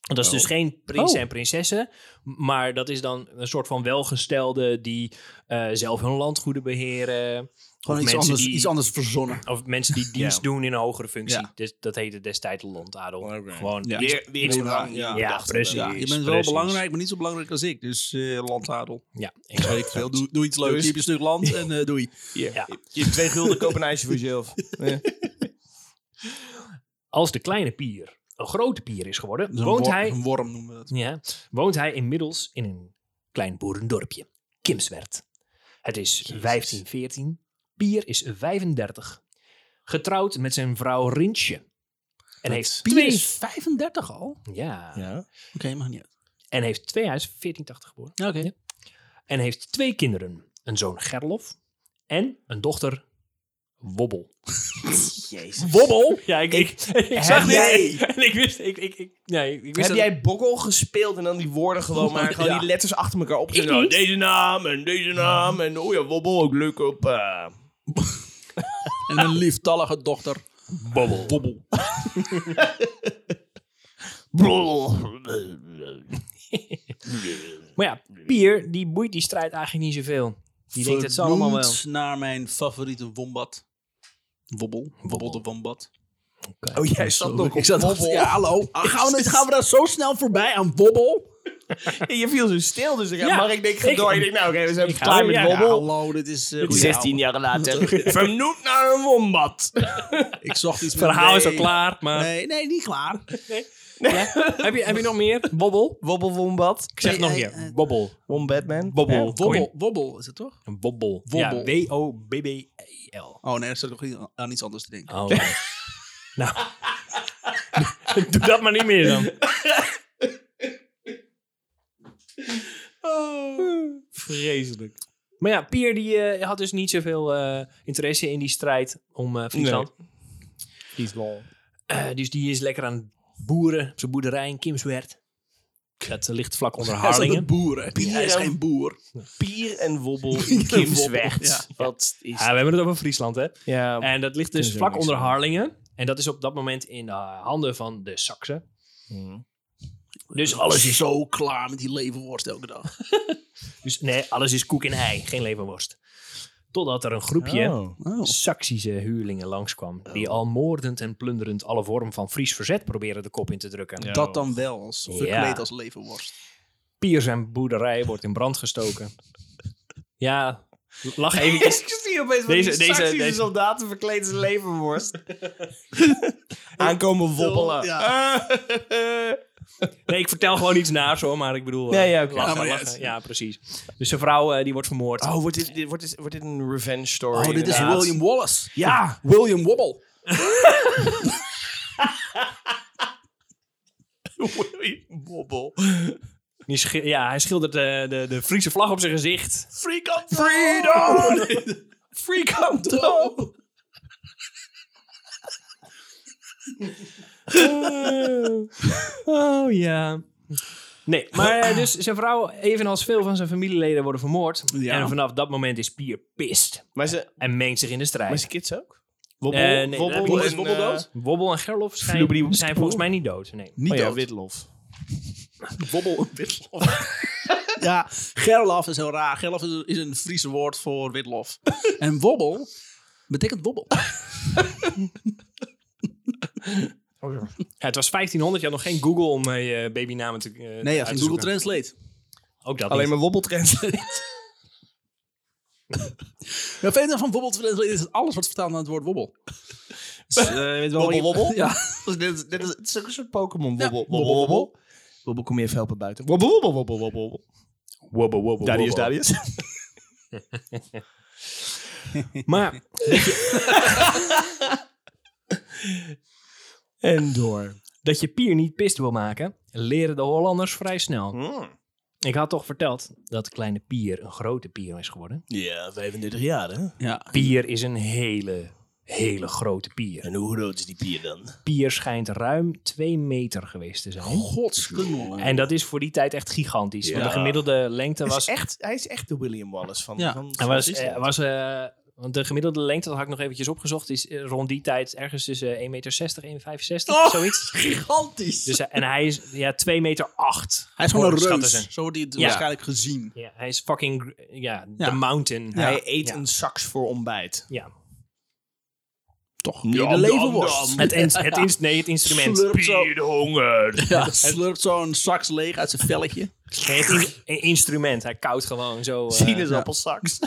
Speaker 2: Dat is dus geen prins
Speaker 1: Oh.
Speaker 2: en prinsessen, maar dat is dan een soort van welgestelde die eh, zelf hun landgoeden beheren.
Speaker 1: Gewoon
Speaker 2: Of
Speaker 1: iets
Speaker 2: mensen
Speaker 1: anders,
Speaker 2: die-
Speaker 1: iets anders verzonnen.
Speaker 2: Of mensen die dienst doen in een hogere functie.
Speaker 1: Ja.
Speaker 2: Dus dat heette destijds landadel.
Speaker 3: Oké.
Speaker 2: Gewoon
Speaker 1: Ja.
Speaker 2: iets-
Speaker 3: Weer, weer
Speaker 1: Iets-
Speaker 3: een rang.
Speaker 1: ja.
Speaker 2: Ja, precies.
Speaker 1: Ja, je bent wel
Speaker 2: precies.
Speaker 1: belangrijk, maar niet zo belangrijk als ik. Dus eh landadel.
Speaker 2: Ja,
Speaker 1: Weet ik veel. Doe, doe iets leuks.
Speaker 3: Dus-
Speaker 1: Hier heb je een stuk land en eh, doei.
Speaker 3: Hier,
Speaker 2: Ja.
Speaker 3: Je hebt twee gulden koop een ijsje voor jezelf.
Speaker 2: Als de kleine pier een grote pier is geworden,
Speaker 1: Dus een
Speaker 2: woont
Speaker 1: wor-
Speaker 2: hij
Speaker 1: Een worm noemen we dat.
Speaker 2: Ja, woont hij inmiddels in een klein boerendorpje, Kimswerd. Het is 1514, Pier is 35, getrouwd met zijn vrouw Rintje. En heeft
Speaker 1: Pier
Speaker 2: twee...
Speaker 1: is 35 al? Oké,
Speaker 2: Ja.
Speaker 3: Ja.
Speaker 1: mag niet uit.
Speaker 2: En heeft twee, hij is 1480 geboren.
Speaker 1: Oké.
Speaker 2: En heeft twee kinderen, een zoon Gerlof en een dochter Wobbel.
Speaker 3: Jezus.
Speaker 2: Wobbel? Ja, ik, ik, ik zag dit
Speaker 3: jij-
Speaker 2: en ik wist, ik, ik, ik, nee, ik wist
Speaker 3: Heb
Speaker 2: dat-
Speaker 3: jij bokkel gespeeld en dan die woorden gewoon maar gewoon
Speaker 1: Ja.
Speaker 3: die letters achter elkaar op?
Speaker 2: Ik
Speaker 3: Nou,
Speaker 2: niet.
Speaker 3: Deze naam en deze naam en oh ja, wobbel ook leuk op. eh,
Speaker 1: En een lieftallige dochter.
Speaker 2: Wobbel.
Speaker 1: Bobbel.
Speaker 2: Maar ja, Pier, die boeit die strijd eigenlijk niet zoveel. Die denkt het zal allemaal wel.
Speaker 1: Vernoemd naar mijn favoriete wombat. Wobbel. Wobbel de wombat.
Speaker 3: Oh, jij zat nog op
Speaker 1: Ik zat nog-
Speaker 3: wobbel.
Speaker 1: Ja, hallo. Ah, gaan, we, gaan we daar zo snel voorbij aan wobbel?
Speaker 3: Je viel zo stil, dus ik,
Speaker 2: Ja.
Speaker 3: maar ik denk, door. Ik denk, nou oké, we zijn
Speaker 2: ga-
Speaker 3: klaar met
Speaker 2: ja,
Speaker 1: Ja,
Speaker 3: Wobbel.
Speaker 1: hallo, dit is... eh, goeie
Speaker 3: 16
Speaker 1: ouwe.
Speaker 3: jaar later. Vernoemd naar een wombat.
Speaker 1: Ik zocht iets
Speaker 2: Het verhaal is al
Speaker 1: nee.
Speaker 2: klaar, maar...
Speaker 1: Nee, nee, niet klaar.
Speaker 2: Ja? heb, je, heb je nog meer? Bobbel?
Speaker 3: Wobbelwombat.
Speaker 2: Ik zeg
Speaker 1: Nee,
Speaker 2: nog
Speaker 1: eh,
Speaker 2: meer.
Speaker 1: eh,
Speaker 2: bobbel.
Speaker 3: Wombatman.
Speaker 2: Bobbel.
Speaker 3: Ja.
Speaker 2: Kom
Speaker 1: Wobbel,
Speaker 2: in.
Speaker 1: wobbel is het toch?
Speaker 2: Een bobbel.
Speaker 1: Wobbel.
Speaker 2: Ja, W-O-B-B-E-L.
Speaker 1: Oh nee, dat zat ik nog niet- aan iets anders te denken.
Speaker 2: Oh, nee. nou. Doe dat maar niet meer dan.
Speaker 1: Oh.
Speaker 3: Vreselijk.
Speaker 2: Maar ja, Pier die, eh, had dus niet zoveel eh, interesse in die strijd om eh, Friesland. Eh, dus die is lekker aan het boeren op zijn boerderij in Kimswerd. Dat eh, ligt vlak onder
Speaker 1: Hij is
Speaker 2: Harlingen.
Speaker 1: een boer, hè? Pier is geen boer.
Speaker 3: Pier en Wobbel in
Speaker 1: en
Speaker 3: Kimswerd.
Speaker 1: Wobbel, ja.
Speaker 3: Wat is...
Speaker 2: Ja, we hebben het over Friesland, hè?
Speaker 3: Ja,
Speaker 2: En dat ligt
Speaker 3: Toen
Speaker 2: dus
Speaker 3: is
Speaker 2: vlak
Speaker 3: er niks
Speaker 2: onder
Speaker 3: van.
Speaker 2: Harlingen. En dat is op dat moment in de handen van de Saksen. Hmm. Dus alles is,
Speaker 1: zo klaar met die levenworst elke dag.
Speaker 2: dus, nee, alles is koek en ei, geen levenworst. Totdat er een groepje
Speaker 1: Oh.
Speaker 2: Saksische huurlingen langskwam. Die al moordend en plunderend alle vorm van Fries verzet proberen de kop in te drukken.
Speaker 3: Ja.
Speaker 1: Dat dan wel, als
Speaker 2: Ja.
Speaker 1: verkleed als levenworst.
Speaker 2: Pier zijn boerderij wordt in brand gestoken. ja, lach eventjes.
Speaker 3: Ik zie opeens van
Speaker 2: Deze-
Speaker 3: die
Speaker 2: deze-
Speaker 3: Saksische
Speaker 2: deze-
Speaker 3: soldaten verkleed als levenworst. Aankomen wobbelen.
Speaker 1: Ja.
Speaker 2: Nee, ik vertel gewoon iets naars hoor, maar ik bedoel... eh,
Speaker 3: Nee, ja, oké.
Speaker 2: lachen,
Speaker 1: Ja, maar ja,
Speaker 2: lachen.
Speaker 1: het-
Speaker 2: ja, precies. Dus zijn vrouw eh, die wordt vermoord.
Speaker 3: Oh, wordt dit, dit- wordt, dit, wordt dit een revenge story?
Speaker 1: Oh, dit is
Speaker 3: inderdaad?
Speaker 1: William Wallace.
Speaker 3: Ja!
Speaker 1: William Wobble.
Speaker 3: William Wobbel.
Speaker 2: Die schi- ja, hij schildert de, de, de Friese vlag op zijn gezicht.
Speaker 3: Freak on Freedom! Freak on down!
Speaker 2: oh ja. Nee, maar eh, dus zijn vrouw, evenals veel van zijn familieleden, worden vermoord.
Speaker 1: Ja.
Speaker 2: En vanaf dat moment is Pier pist
Speaker 3: Maar ze,
Speaker 2: en mengt zich in de
Speaker 3: maar
Speaker 2: strijd.
Speaker 3: ze kids ook? Wobbel,
Speaker 2: Eh, nee, dat heb ik
Speaker 3: wobbel
Speaker 2: niet.
Speaker 3: is Wobbel dood?
Speaker 2: Wobbel en Gerlof zijn,
Speaker 3: Vloebidi-
Speaker 2: zijn volgens mij niet dood. Nee.
Speaker 1: Niet
Speaker 3: Oh ja,
Speaker 1: dood.
Speaker 3: Witlof.
Speaker 1: Wobbel en witlof. ja, gerlof is heel raar. Gerlof is, is een Friese woord voor witlof. en wobbel betekent wobbel.
Speaker 2: Ja, het was 1500, je had nog geen Google om eh, je babynamen te eh,
Speaker 1: Nee, ja,
Speaker 2: uit
Speaker 1: geen
Speaker 2: te
Speaker 1: Google
Speaker 2: zoeken.
Speaker 1: Translate.
Speaker 2: Ook dat
Speaker 3: Alleen
Speaker 2: niet.
Speaker 3: maar wobbeltrends.
Speaker 1: Ja, verder van wobbel Translate is het alles wat vertaald aan het woord wobbel. Dus, eh, je weet wel-
Speaker 3: Wobbel, wobbel?
Speaker 1: Ja.
Speaker 3: dit, is, dit is, het is ook een soort Pokémon.
Speaker 1: Ja.
Speaker 3: Wobbel,
Speaker 1: Wobbel,
Speaker 3: wobbel, wobbel. Wobbel, kom je even helpen buiten. Wobbel, wobbel, wobbel, wobbel, wobbel.
Speaker 2: Wobbel, wobbel,
Speaker 3: Darius,
Speaker 2: wobbel.
Speaker 3: Darius.
Speaker 2: Maar
Speaker 3: En door.
Speaker 2: dat je Pier niet pist wil maken, leren de Hollanders vrij snel.
Speaker 3: Hmm.
Speaker 2: Ik had toch verteld dat kleine Pier een grote Pier is
Speaker 3: Ah,
Speaker 2: geworden.
Speaker 3: Ja, 35 jaar, hè?
Speaker 1: ja.
Speaker 2: Pier is een hele, hele grote Pier.
Speaker 3: En hoe groot is die pier dan?
Speaker 2: Pier schijnt ruim twee meter geweest te zijn.
Speaker 1: Oh, Godsknolle.
Speaker 2: En dat is voor die tijd echt gigantisch. Want de gemiddelde lengte
Speaker 3: Hij is,
Speaker 2: was...
Speaker 3: echt, hij is echt de William Wallace van...
Speaker 1: Ja.
Speaker 3: van
Speaker 2: Hij was,
Speaker 3: Friesland.
Speaker 2: eh, was, eh, want de gemiddelde lengte, dat had ik nog eventjes opgezocht, is eh, rond die tijd ergens tussen 1,60 meter, 1,65
Speaker 1: Oh!
Speaker 2: zoiets.
Speaker 1: Gigantisch.
Speaker 2: Dus, hij- en hij is ja, 2 meter acht.
Speaker 1: hij is gewoon een
Speaker 2: Schatten
Speaker 1: reus.
Speaker 2: ze.
Speaker 1: Zo wordt hij het
Speaker 2: dus Ja.
Speaker 1: waarschijnlijk gezien.
Speaker 2: Ja, hij is fucking, gr- ja,
Speaker 1: Ja.
Speaker 2: the mountain.
Speaker 1: Ja.
Speaker 3: Hij eet
Speaker 2: Ja.
Speaker 3: een sax voor ontbijt.
Speaker 2: Ja.
Speaker 1: Toch?
Speaker 3: Ja,
Speaker 1: de levenworst.
Speaker 3: dam, dam.
Speaker 2: Het, ins- het, ins- nee, het instrument.
Speaker 1: Slurpt zo.
Speaker 2: Pier de
Speaker 3: Eh,
Speaker 2: honger.
Speaker 1: Ja, hij slurpt zo'n sax leeg uit zijn velletje.
Speaker 2: Nee, het in- een instrument. Hij koudt gewoon zo. eh,
Speaker 3: Sinaasappelsax.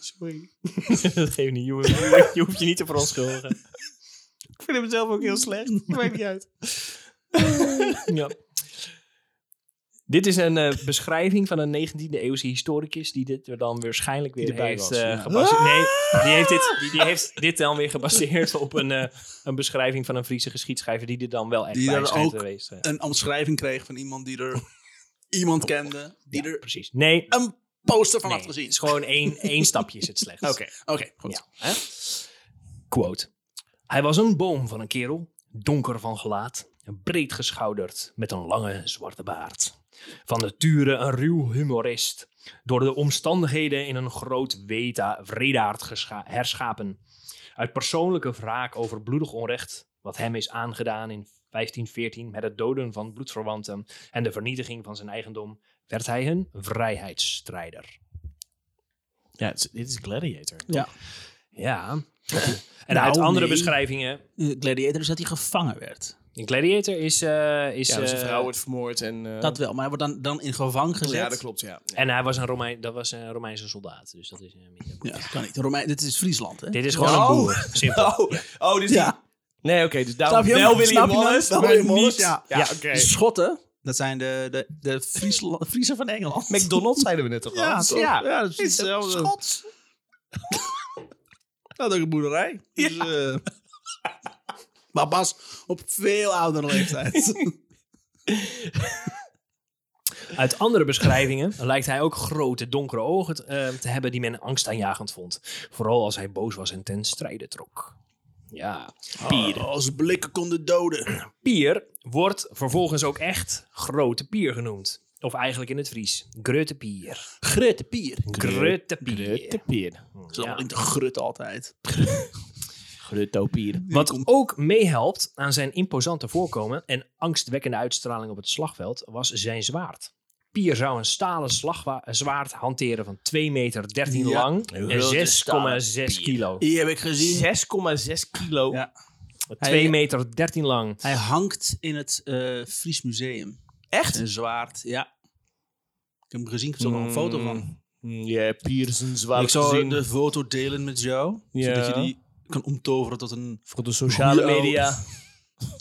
Speaker 3: Sorry.
Speaker 2: dat geeft eh, niet. Je hoeft, je hoeft- je hoeft je niet te verontschuldigen.
Speaker 3: Ik vind hem zelf ook heel slecht. Dat maakt niet uit.
Speaker 2: Ja. Dit is een eh, beschrijving van een 19e-eeuwse historicus die dit er dan waarschijnlijk weer
Speaker 3: Die erbij
Speaker 2: heeft
Speaker 3: was,
Speaker 2: eh,
Speaker 3: ja.
Speaker 2: gebaseerd. Nee, die heeft, dit, die, die heeft dit dan weer gebaseerd op een, eh, een beschrijving van een Friese geschiedschrijver die dit dan wel echt
Speaker 1: Die
Speaker 2: bij
Speaker 1: daar
Speaker 2: schijnt
Speaker 1: ook-
Speaker 2: geweest. eh.
Speaker 1: Een omschrijving kreeg van iemand die er iemand kende. Die er
Speaker 2: Precies. Nee,
Speaker 1: een poster van
Speaker 2: nee,
Speaker 1: had gezien.
Speaker 2: het is gewoon één, één stapje is het slechts.
Speaker 1: Oké, goed.
Speaker 2: Ja, hè? Quote. Hij was een boom van een kerel, donker van gelaat, breed geschouderd, met een lange zwarte baard. Van nature een ruw humorist, door de omstandigheden in een groot weta, wredaard gescha- herschapen. Uit persoonlijke wraak over bloedig onrecht, wat hem is aangedaan in 1514 met het doden van bloedverwanten en de vernietiging van zijn eigendom, werd hij een vrijheidsstrijder.
Speaker 3: Ja, het is- dit is Gladiator.
Speaker 1: Ja.
Speaker 2: Ja. En
Speaker 1: Nou,
Speaker 2: uit andere
Speaker 1: nee.
Speaker 2: beschrijvingen.
Speaker 1: Eh, Gladiator is dat hij gevangen werd.
Speaker 2: Een gladiator is. eh, is
Speaker 3: Ja, dus een
Speaker 2: eh,
Speaker 3: vrouw wordt vermoord en... eh,
Speaker 1: Dat wel, maar hij wordt dan, dan in gevangen gezet.
Speaker 3: Oh ja, dat klopt, ja.
Speaker 2: En hij was een, Romein, dat was een Romeinse soldaat. Dus dat is. eh, minder.
Speaker 1: Ja, dat kan niet. Romein, dit is Friesland, hè?
Speaker 2: Dit is gewoon
Speaker 3: Oh.
Speaker 2: een boer. Simpel.
Speaker 3: Oh, oh dus die...
Speaker 1: Ja,
Speaker 3: Nee, oké, dus daarom
Speaker 1: snap je?
Speaker 3: wel Willy
Speaker 1: Snap je hem?
Speaker 3: Wallace,
Speaker 1: Wel
Speaker 3: maar
Speaker 1: William Wallace,
Speaker 3: niet-
Speaker 1: ja. Dus
Speaker 3: Ja, oké.
Speaker 1: De Schotten, dat zijn de, de, de Friesla- Friesen van Engeland.
Speaker 3: McDonald's zeiden we net toch al?
Speaker 1: Ja,
Speaker 3: toch?
Speaker 1: ja,
Speaker 3: ja, dat is
Speaker 1: is
Speaker 3: hetzelfde.
Speaker 1: Schots. Dat is ook een boerderij. Dus, eh, maar Bas, op veel oudere leeftijd.
Speaker 2: Uit andere beschrijvingen lijkt hij ook grote donkere ogen te, eh, te hebben die men angstaanjagend vond. Vooral als hij boos was en ten strijde trok. Ja. Pier.
Speaker 1: Oh, als blikken konden doden.
Speaker 2: Pier wordt vervolgens ook echt grote pier genoemd. Of eigenlijk in het Fries. Grote pier.
Speaker 1: Grutte pier.
Speaker 2: Grote
Speaker 3: Grutte
Speaker 2: pier.
Speaker 3: pier.
Speaker 1: Dat is wel in de grut altijd.
Speaker 3: Grutte pier.
Speaker 2: Wat ook meehelpt aan zijn imposante voorkomen en angstwekkende uitstraling op het slagveld was zijn zwaard. Pier zou een stalen slagwa- zwaard hanteren van 2,13 meter
Speaker 1: Ja.
Speaker 2: lang en
Speaker 1: grote
Speaker 2: 6,6 kilo.
Speaker 1: Die heb ik gezien.
Speaker 3: 6,6 kilo.
Speaker 1: Ja.
Speaker 2: 2 meter 13 lang.
Speaker 1: Hij hangt in het eh, Fries Museum.
Speaker 3: Echt?
Speaker 1: Een zwaard, ja. Ik heb hem gezien, ik heb er nog een foto
Speaker 3: Hmm,
Speaker 1: van.
Speaker 3: Mm, Ja, pier is een
Speaker 1: ik
Speaker 3: zwaar
Speaker 1: zal
Speaker 3: gezin.
Speaker 1: de foto delen met jou,
Speaker 3: Ja.
Speaker 1: zodat je die kan omtoveren tot een...
Speaker 3: Voor de sociale
Speaker 1: Goeie
Speaker 3: media.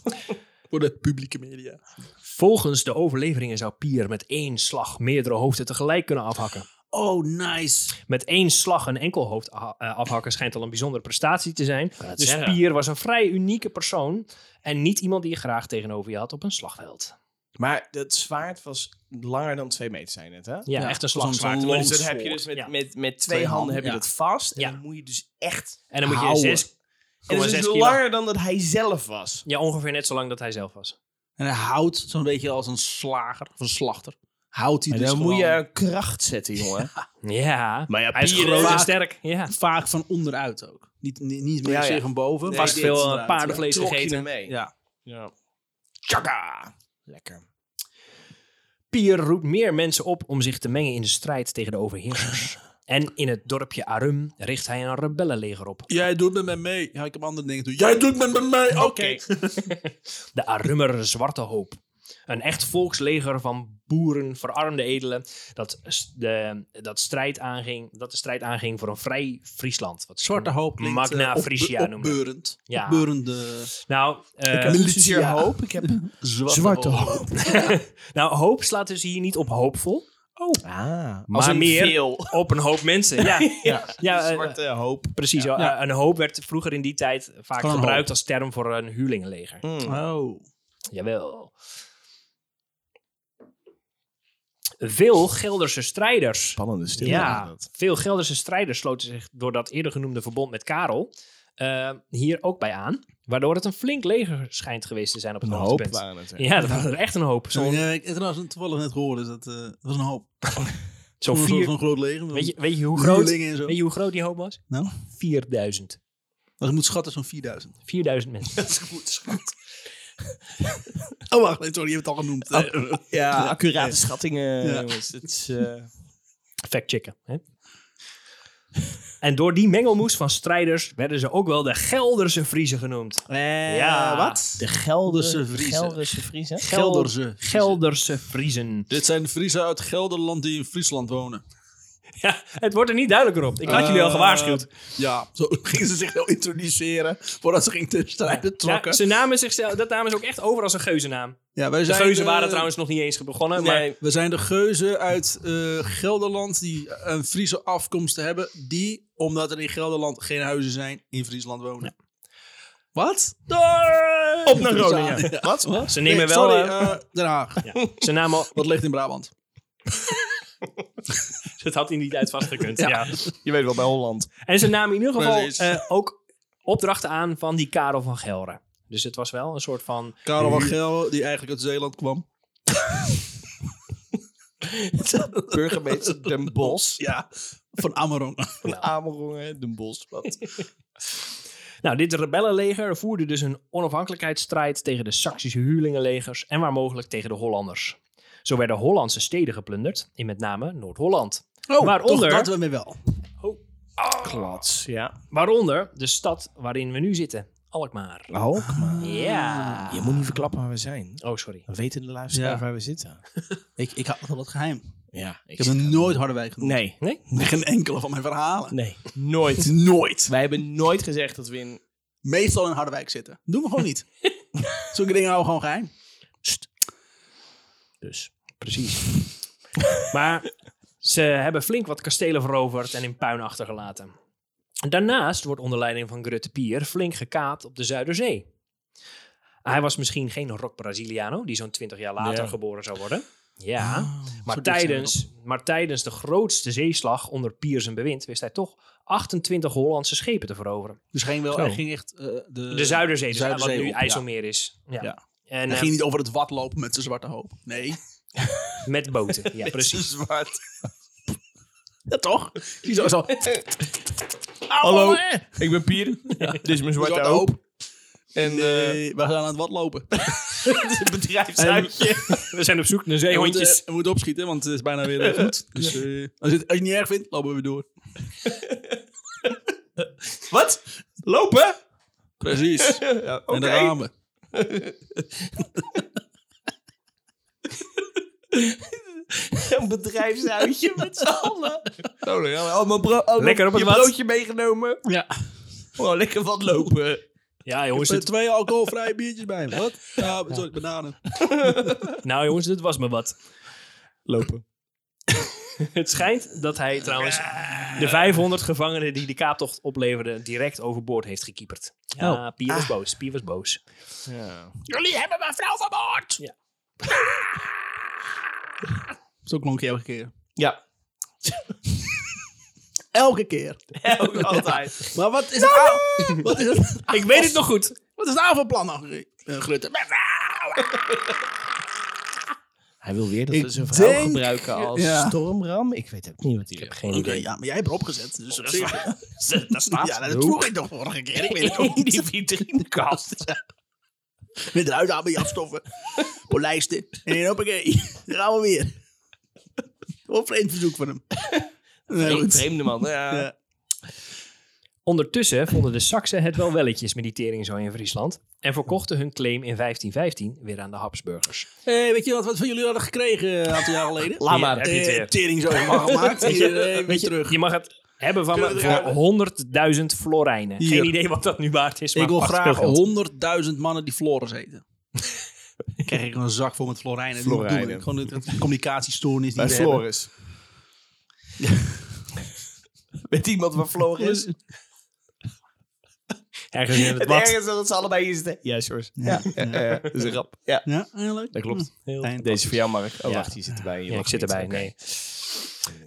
Speaker 1: Voor de publieke media.
Speaker 2: Volgens de overleveringen zou Pier met één slag meerdere hoofden tegelijk kunnen afhakken.
Speaker 1: Oh, nice.
Speaker 2: Met één slag een enkel hoofd a- eh, afhakken schijnt al een bijzondere prestatie te zijn.
Speaker 3: het
Speaker 2: Dus
Speaker 3: zeggen.
Speaker 2: Pier was een vrij unieke persoon en niet iemand die je graag tegenover je had op een slagveld.
Speaker 3: Maar dat zwaard was langer dan 2 meter, zijn het, hè?
Speaker 2: Ja,
Speaker 1: Ja,
Speaker 2: echt een
Speaker 1: zo'n- zo'n
Speaker 2: slagzwaard.
Speaker 1: long
Speaker 3: Dus dat
Speaker 1: Longsword,
Speaker 3: heb je dus met,
Speaker 2: ja.
Speaker 3: met, met twee,
Speaker 1: Twee
Speaker 3: handen,
Speaker 1: handen,
Speaker 3: heb je
Speaker 1: ja.
Speaker 3: dat vast. En
Speaker 2: Ja.
Speaker 3: dan moet je dus echt...
Speaker 2: En dan moet je
Speaker 1: Houden.
Speaker 2: 6,
Speaker 3: En dat is
Speaker 2: 6
Speaker 3: dus
Speaker 2: kilo.
Speaker 3: langer dan dat hij zelf was.
Speaker 2: Ja, ongeveer net zo lang dat hij zelf was.
Speaker 1: En hij houdt zo'n beetje als een slager of een slachter. Houdt hij
Speaker 3: En
Speaker 1: dus
Speaker 3: dan moet je
Speaker 1: gewoon
Speaker 3: een kracht zetten, jongen.
Speaker 2: Ja,
Speaker 3: Maar ja,
Speaker 2: hij is
Speaker 3: Pier
Speaker 2: groot
Speaker 1: vaak-
Speaker 2: en sterk. Ja.
Speaker 1: vaak van onderuit ook. Niet, niet, niet meer
Speaker 3: Ja,
Speaker 1: zeer
Speaker 3: ja.
Speaker 1: van boven.
Speaker 3: Nee,
Speaker 1: maar
Speaker 2: Vast
Speaker 1: dit
Speaker 2: veel eh,
Speaker 1: inderdaad,
Speaker 2: paardenvlees
Speaker 3: Trok je
Speaker 2: gegeten.
Speaker 3: ermee.
Speaker 1: Ja. Ja.
Speaker 3: Ja. Tjaka! Lekker.
Speaker 2: Pier roept meer mensen op om zich te mengen in de strijd tegen de overheersers. En in het dorpje Arum richt hij een rebellenleger op.
Speaker 1: Jij doet met me mee. Ja, ik heb andere dingen te doen. Jij doet met me mee. Oké.
Speaker 2: De Arummer Zwarte Hoop. Een echt volksleger van boeren, verarmde edelen, dat, s- de, dat, strijd aanging, dat de strijd aanging voor een vrij Friesland. Wat ze
Speaker 1: Zwarte hoop klinkt,
Speaker 2: Magna
Speaker 1: eh, op-
Speaker 2: Frisia noemen.
Speaker 1: opbeurend.
Speaker 2: Ja.
Speaker 1: Opbeurende
Speaker 2: Nou, eh,
Speaker 1: militia.
Speaker 3: Militia hoop. Ik heb
Speaker 1: zwarte, hoop.
Speaker 2: nou, hoop slaat dus hier niet op hoopvol,
Speaker 1: Oh.
Speaker 3: Ah,
Speaker 2: maar meer
Speaker 3: veel.
Speaker 2: op een hoop mensen. Ja, ja. eh,
Speaker 3: zwarte hoop.
Speaker 2: precies.
Speaker 1: Ja.
Speaker 2: Eh, Een hoop werd vroeger in die tijd vaak
Speaker 1: Gewoon een
Speaker 2: gebruikt
Speaker 1: hoop.
Speaker 2: als term voor een huurlingenleger.
Speaker 3: Mm. Ah.
Speaker 1: Oh.
Speaker 2: Jawel. Veel Gelderse strijders.
Speaker 3: Spannende stilte.
Speaker 2: Ja, veel Gelderse strijders sloten zich door dat eerder genoemde verbond met Karel eh, hier ook bij aan. Waardoor het een flink leger schijnt geweest te zijn op het
Speaker 3: Een hoop
Speaker 2: hoogtepunt.
Speaker 3: waren het. hè.
Speaker 2: Ja, dat was er echt een hoop. Zo'n
Speaker 1: Ja, ik heb trouwens toevallig net gehoord, dus dat, eh, dat was een hoop.
Speaker 2: zo'n
Speaker 1: Zo'n
Speaker 2: vier...
Speaker 1: zo'n groot leger.
Speaker 2: Weet je, weet, je hoe groot,
Speaker 1: Huurlingen en zo.
Speaker 2: weet je hoe groot die hoop was?
Speaker 1: Nou?
Speaker 2: 4000.
Speaker 1: Dat moet schatten zo'n 4000.
Speaker 2: 4000 mensen.
Speaker 1: Dat is goed schat. oh, wacht. nee, Sorry, je hebt het al genoemd.
Speaker 2: Oh.
Speaker 1: Eh,
Speaker 3: Ja, accurate schattingen.
Speaker 1: Ja.
Speaker 3: jongens. Het is, eh,
Speaker 2: Fact checken. Hè? En door die mengelmoes van strijders werden ze ook wel de Gelderse Friezen genoemd. Ja.
Speaker 1: wat?
Speaker 3: Eh, de Gelderse
Speaker 1: De Vriezen.
Speaker 3: Gelderse Vriezen.
Speaker 1: Gelderse.
Speaker 2: Gelderse Friezen.
Speaker 1: Dit zijn de Friese uit Gelderland die in Friesland wonen.
Speaker 2: Ja, het wordt er niet duidelijker op. Ik had jullie al
Speaker 1: Eh,
Speaker 2: gewaarschuwd.
Speaker 1: Ja, zo gingen ze zich wel introduceren voordat ze gingen ten strijde
Speaker 2: Ja,
Speaker 1: trokken.
Speaker 2: ze namen zichzelf, dat namen ze ook echt over als een geuzennaam.
Speaker 1: Ja, wij
Speaker 2: De
Speaker 1: zijn eh,
Speaker 2: geuzen
Speaker 1: de-
Speaker 2: waren trouwens nog niet eens begonnen. Maar
Speaker 1: Nee, Eh, we zijn de geuzen uit eh, Gelderland die een Friese afkomst hebben. Die, omdat er in Gelderland geen huizen zijn, in Friesland wonen. Wat?
Speaker 2: Door!
Speaker 3: Op naar Groningen.
Speaker 1: Ja.
Speaker 3: Wat? Wat?
Speaker 2: Ze nemen
Speaker 1: eh. Nee,
Speaker 2: wel.
Speaker 1: Sorry,
Speaker 2: eh,
Speaker 1: eh, Den Haag.
Speaker 2: ze namen.
Speaker 1: Wat ligt in Brabant?
Speaker 2: Het had hij niet uit vastgekund. ja.
Speaker 1: Ja.
Speaker 3: Je weet wel, bij Holland.
Speaker 2: En ze namen in ieder geval
Speaker 1: Precies.
Speaker 2: eh, ook opdrachten aan van die Karel van Gelre. Dus het was wel een soort van.
Speaker 1: Karel van Gel, die eigenlijk uit Zeeland kwam.
Speaker 3: Burgemeester Den Bos.
Speaker 1: Ja, van Ameron.
Speaker 3: Van Amerongen, Den Bos. Wat?
Speaker 2: Nou, dit rebellenleger voerde dus een onafhankelijkheidsstrijd tegen de Saksische huurlingenlegers en waar mogelijk tegen de Hollanders. Zo werden Hollandse steden geplunderd, in met name Noord-Holland.
Speaker 1: Oh,
Speaker 2: Waaronder-
Speaker 1: toch dat we mee wel.
Speaker 2: Oh,
Speaker 3: Klats, ja.
Speaker 2: Waaronder de stad waarin we nu zitten, Alkmaar.
Speaker 3: Ook, maar.
Speaker 2: Ja.
Speaker 3: Je moet niet verklappen waar we zijn.
Speaker 2: Oh, sorry.
Speaker 3: Dan weten de luisteraars
Speaker 1: Ja.
Speaker 3: waar we zitten.
Speaker 1: Ik, ik had nog wel wat geheim.
Speaker 3: Ja.
Speaker 1: Ik heb nog nooit Harderwijk genoemd.
Speaker 3: Nee.
Speaker 2: Nee?
Speaker 1: Geen enkele van mijn verhalen.
Speaker 3: Nee. Nooit.
Speaker 1: Nooit.
Speaker 3: Wij hebben nooit gezegd dat we in...
Speaker 1: Meestal in Harderwijk zitten. Doe me gewoon niet. Zulke dingen houden gewoon geheim.
Speaker 2: Dus, precies. maar ze hebben flink wat kastelen veroverd en in puin achtergelaten. Daarnaast wordt onder leiding van Grutte Pier flink gekaapt op de Zuiderzee. Hij was misschien geen rock Braziliano, die zo'n 20 jaar later
Speaker 3: Ja.
Speaker 2: geboren zou worden. Ja,
Speaker 1: Oh,
Speaker 2: maar,
Speaker 1: Ah, zo dik zijn we
Speaker 2: tijdens, maar tijdens de grootste zeeslag onder Pier zijn bewind wist hij toch 28 Hollandse schepen te veroveren.
Speaker 1: Dus ging wel,
Speaker 2: Zo.
Speaker 1: hij ging echt eh, de,
Speaker 2: De Zuiderzee, dus
Speaker 1: Zuiderzee
Speaker 2: wat nu
Speaker 1: op, ja.
Speaker 2: IJsselmeer is. Ja.
Speaker 1: Ja.
Speaker 2: En
Speaker 1: Hij
Speaker 2: eh,
Speaker 1: ging niet over het wat lopen met zijn zwarte hoop. Nee.
Speaker 2: met boten, ja precies.
Speaker 1: Zwart. ja, toch? Die zo, zo.
Speaker 3: Hallo, ik ben Pier. Dit is mijn
Speaker 1: Zwarte
Speaker 3: zwarte hoop.
Speaker 1: hoop.
Speaker 3: En eh
Speaker 1: Nee, we gaan aan het wat lopen.
Speaker 3: het bedrijfsuitje.
Speaker 2: We zijn op zoek naar
Speaker 1: We moeten, we moeten eh, opschieten, want het is bijna weer eh, goed. Dus eh, als, je het, als je het niet erg vindt, lopen we weer door.
Speaker 3: Wat? Lopen?
Speaker 1: Precies.
Speaker 3: Ja, Oké.
Speaker 1: En daar gaan we.
Speaker 3: Een bedrijfsuitje met z'n allen. Oh, nee, allemaal bro allemaal
Speaker 2: Lekker op het
Speaker 3: je
Speaker 2: wat.
Speaker 3: broodje meegenomen.
Speaker 1: Ja.
Speaker 3: Oh, lekker wat lopen.
Speaker 2: Ja, jongens.
Speaker 1: Er
Speaker 2: dit-
Speaker 1: twee alcoholvrije biertjes bij me. Wat? Ja, sorry, bananen.
Speaker 2: nou, jongens, dit was me wat.
Speaker 3: Lopen.
Speaker 2: Het schijnt dat hij trouwens de 500 gevangenen die de kaaptocht opleverden direct overboord heeft gekieperd. Ja, Pier was boos. Pier was boos.
Speaker 3: Ja.
Speaker 2: Jullie hebben mijn vrouw vermoord! Ja.
Speaker 1: Zo klonk je elke keer.
Speaker 3: ja.
Speaker 1: Elke keer.
Speaker 3: Ook altijd.
Speaker 1: Maar wat is het, aan- wat is het,
Speaker 2: Ik weet het nog goed.
Speaker 1: wat is het aanvalplan nou, Gru- eh, Grutte?
Speaker 3: Hij wil weer dat
Speaker 1: Ik
Speaker 3: we zijn vrouw
Speaker 1: denk-
Speaker 3: gebruiken als
Speaker 1: Ja.
Speaker 3: stormram. Ik weet ook niet wat hij wil.
Speaker 2: Geen
Speaker 1: Oké,
Speaker 2: idee.
Speaker 1: ja, maar jij hebt erop gezet. Dus op zich-
Speaker 2: Dat staat.
Speaker 1: ja, dat vroeg ik nog vorige keer. Ik weet het ook
Speaker 3: In
Speaker 1: niet.
Speaker 3: die vitrinekast.
Speaker 1: Met eruit aan met je afstoffen. Polijsten. En dan hoppakee. Daar gaan we weer. Wat vreemd verzoek van hem. Nee,
Speaker 3: Een
Speaker 1: goed.
Speaker 3: vreemde man. Ja.
Speaker 1: Ja.
Speaker 2: Ondertussen vonden de Saksen het wel welletjes met die tering zo in Friesland. En verkochten hun claim in 1515 weer aan de Habsburgers.
Speaker 1: Hey, Eh, weet je wat, wat van jullie hadden gekregen eh, een aantal jaar geleden?
Speaker 3: Laat maar.
Speaker 2: Heb je het weer.
Speaker 1: Eh, tering zo helemaal gemaakt. Hier, eh, weer
Speaker 2: Weet je,
Speaker 1: terug.
Speaker 2: je mag het hebben van
Speaker 1: Kunnen we eruit?
Speaker 2: me voor 100.000 florijnen.
Speaker 1: Hier.
Speaker 2: Geen idee wat dat nu waard is. Maar
Speaker 1: Ik wil
Speaker 2: pak het
Speaker 1: graag
Speaker 2: speelgeld.
Speaker 1: 100.000 mannen die Flores eten. Krijg ik een zak vol met florijnen. Die
Speaker 3: Florijnen.
Speaker 1: bedoel ik. Gewoon de, de communicatiestoornis die
Speaker 3: Bij
Speaker 1: we
Speaker 3: Floris. Met iemand van Floris.
Speaker 2: Ergens in het
Speaker 3: En
Speaker 2: bad.
Speaker 3: ergens dat ze allebei hier zitten. Ja, Sjors. Ja, ja, ja, ja. dat is een grap. Ja.
Speaker 1: hebben. Ja, heel leuk.
Speaker 3: Dat klopt.
Speaker 1: Heel fijn.
Speaker 3: Deze is voor jou, Mark. Oh,
Speaker 2: Ja.
Speaker 3: wacht, die zit erbij. Je
Speaker 2: Ja,
Speaker 3: mag
Speaker 2: ik zit
Speaker 3: niet.
Speaker 2: erbij,
Speaker 3: Oké.
Speaker 2: nee.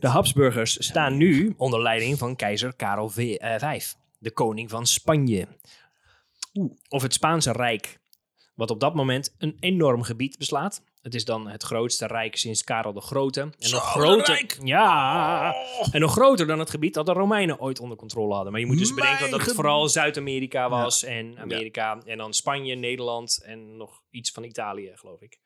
Speaker 2: De Habsburgers staan nu onder leiding van keizer Karel V, eh, V, de koning van Spanje. Of het Spaanse Rijk, wat op dat moment een enorm gebied beslaat. Het is dan het grootste rijk sinds Karel de Grote. En nog groter,
Speaker 1: rijk!
Speaker 2: Ja,
Speaker 3: Oh.
Speaker 2: en nog groter dan het gebied dat de Romeinen ooit onder controle hadden. Maar je moet dus bedenken
Speaker 1: Mijn
Speaker 2: dat het
Speaker 1: ge-
Speaker 2: vooral Zuid-Amerika was en Amerika. En dan Spanje, Nederland en nog iets van Italië, geloof ik.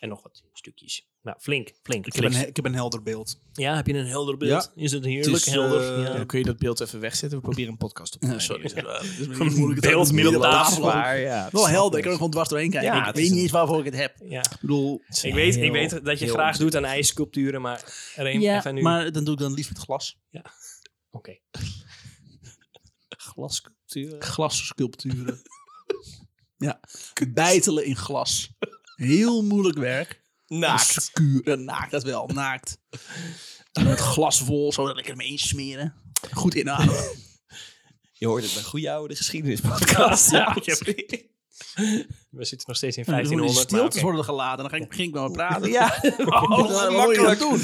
Speaker 2: En nog wat stukjes. Nou, flink, flink.
Speaker 1: Ik heb, een,
Speaker 2: flink.
Speaker 1: he- ik heb een helder beeld.
Speaker 2: Ja, heb je een helder beeld? Is het heerlijk
Speaker 1: Het is,
Speaker 2: helder?
Speaker 1: eh,
Speaker 2: ja.
Speaker 3: Dan kun je dat beeld even wegzetten. We proberen een podcast op te nemen.
Speaker 1: sorry.
Speaker 2: Beeld midden op de
Speaker 3: Dat is
Speaker 2: tafel.
Speaker 3: waar, ja.
Speaker 1: Wel helder. Ik kan er gewoon dwars doorheen kijken.
Speaker 3: Ja,
Speaker 1: ik
Speaker 3: het
Speaker 1: weet
Speaker 3: is
Speaker 1: niet
Speaker 3: een-
Speaker 1: eens waarvoor ik het heb. Ik
Speaker 2: Ja.
Speaker 1: bedoel...
Speaker 2: Ik, weet, ik weet dat je
Speaker 3: heel
Speaker 2: graag doet aan ijssculpturen, maar Reem, even nu.
Speaker 1: maar dan doe ik dan liefst met glas.
Speaker 2: Oké.
Speaker 3: Glascultuur.
Speaker 1: Glassculpturen. ja. Bijtelen in glas. Heel moeilijk werk.
Speaker 3: Naakt.
Speaker 1: Schuren, naakt, dat wel, naakt. En Met glas vol, zodat ik ermee insmeren. Goed inademen.
Speaker 3: Je hoort het bij Goeie Oude Geschiedenispodcast.
Speaker 2: Ja, ik heb- We zitten nog steeds in
Speaker 1: En dan die
Speaker 2: 1500. maar
Speaker 1: stiltes
Speaker 2: oké.
Speaker 1: worden gelaten. En dan ging, ging ik wel praten. Oh,
Speaker 3: Ja,
Speaker 1: dat moet je
Speaker 3: Oh, makkelijk.
Speaker 1: dat doen.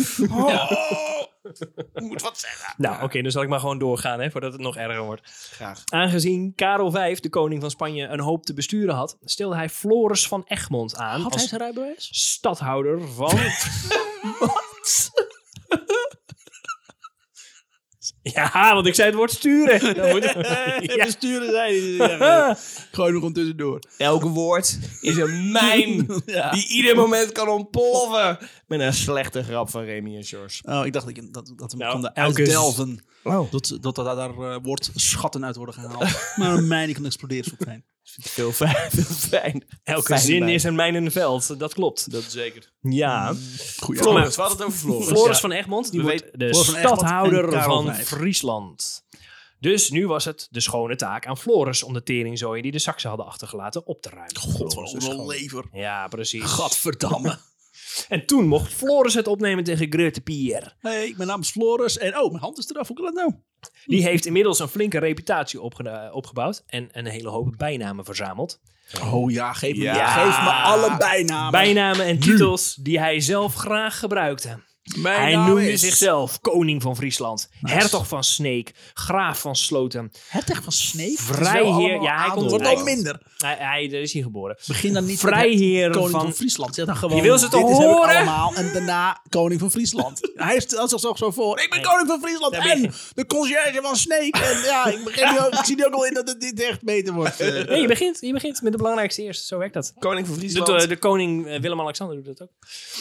Speaker 3: moet wat zeggen.
Speaker 2: Nou, oké, dan zal ik maar gewoon doorgaan, hè, voordat het nog erger wordt.
Speaker 3: Graag.
Speaker 2: Aangezien Karel V, de koning van Spanje, een hoop te besturen had, stelde hij Floris van Egmond aan
Speaker 1: Had hij
Speaker 2: als
Speaker 1: zijn rijbewijs?
Speaker 2: stadhouder van...
Speaker 1: Wat?
Speaker 2: Ja, want ik zei het woord sturen. Dan moet
Speaker 1: Ja. dus Besturen zijn. Gooi nog ondertussen door.
Speaker 3: Elk woord is een mijn
Speaker 1: Ja.
Speaker 3: die ieder moment kan ontploffen. Met een slechte grap van Remy en George.
Speaker 1: Oh, ik dacht dat, je- dat, dat we
Speaker 2: Nou,
Speaker 1: konden
Speaker 2: elke-
Speaker 1: uitdelven.
Speaker 3: Oh.
Speaker 1: Dat, dat, dat daar eh, woordschatten uit worden gehaald. maar een mijn die kan exploderen is ook fijn.
Speaker 3: Veel fijn. Veel fijn.
Speaker 2: Elke
Speaker 3: Fijn
Speaker 2: zin
Speaker 3: bij.
Speaker 2: is een mijn in het veld. Dat klopt.
Speaker 3: Dat zeker.
Speaker 2: Ja.
Speaker 1: Goeie
Speaker 2: Flores,
Speaker 3: we hadden het over Floris.
Speaker 2: Floris van Egmond, die
Speaker 3: We
Speaker 2: wordt de
Speaker 1: Floris van Egmond en
Speaker 2: stadhouder
Speaker 1: Karel
Speaker 2: van
Speaker 1: Vijf.
Speaker 2: Friesland. Dus nu was het de schone taak aan Floris om de teringzooi die de Saksen hadden achtergelaten op te ruimen.
Speaker 1: God,
Speaker 2: Floris
Speaker 1: wat
Speaker 2: de
Speaker 1: een
Speaker 2: Schone.
Speaker 1: lever.
Speaker 2: Ja, precies.
Speaker 1: Gadverdamme.
Speaker 2: En toen mocht Floris het opnemen tegen Grete Pier.
Speaker 1: hey, mijn naam is Floris. En oh, mijn hand is eraf. Hoe kan dat nou?
Speaker 2: Die heeft inmiddels een flinke reputatie opge- opgebouwd en een hele hoop bijnamen verzameld.
Speaker 1: Oh ja, geef me,
Speaker 3: Ja.
Speaker 1: Geef me alle bijnamen.
Speaker 2: Bijnamen en titels die hij zelf graag gebruikte.
Speaker 1: Mijn
Speaker 2: hij
Speaker 1: naam
Speaker 2: noemde
Speaker 1: is-
Speaker 2: zichzelf koning van Friesland, hertog van Sneek, graaf van Sloten,
Speaker 1: Het echt van Snake?
Speaker 2: vrijheer... Ja, hij komt
Speaker 1: Wordt
Speaker 2: hij,
Speaker 1: al minder.
Speaker 2: hij, hij- daar is hier geboren.
Speaker 1: Begin dan niet
Speaker 2: Vrijheer
Speaker 1: met koning van, Nou,
Speaker 2: van-
Speaker 1: Friesland. Zeg dan gewoon,
Speaker 2: Je wil ze toch
Speaker 1: dit is heb ik
Speaker 2: horen?
Speaker 1: allemaal. En daarna koning van Friesland. Hij stelt zichzelf zo voor. Ik ben koning van Friesland
Speaker 2: Daar ben
Speaker 1: en
Speaker 2: je.
Speaker 1: de conciërge van Snake. En ja, ik, begrijp nu ook- ik zie nu ook al in dat het niet echt beter wordt. Eh,
Speaker 2: Nee, je begint, je begint met de belangrijkste eerst. Zo werkt dat.
Speaker 3: Koning van
Speaker 2: De,
Speaker 3: Friesland.
Speaker 2: de, de koning eh, Willem-Alexander doet dat ook.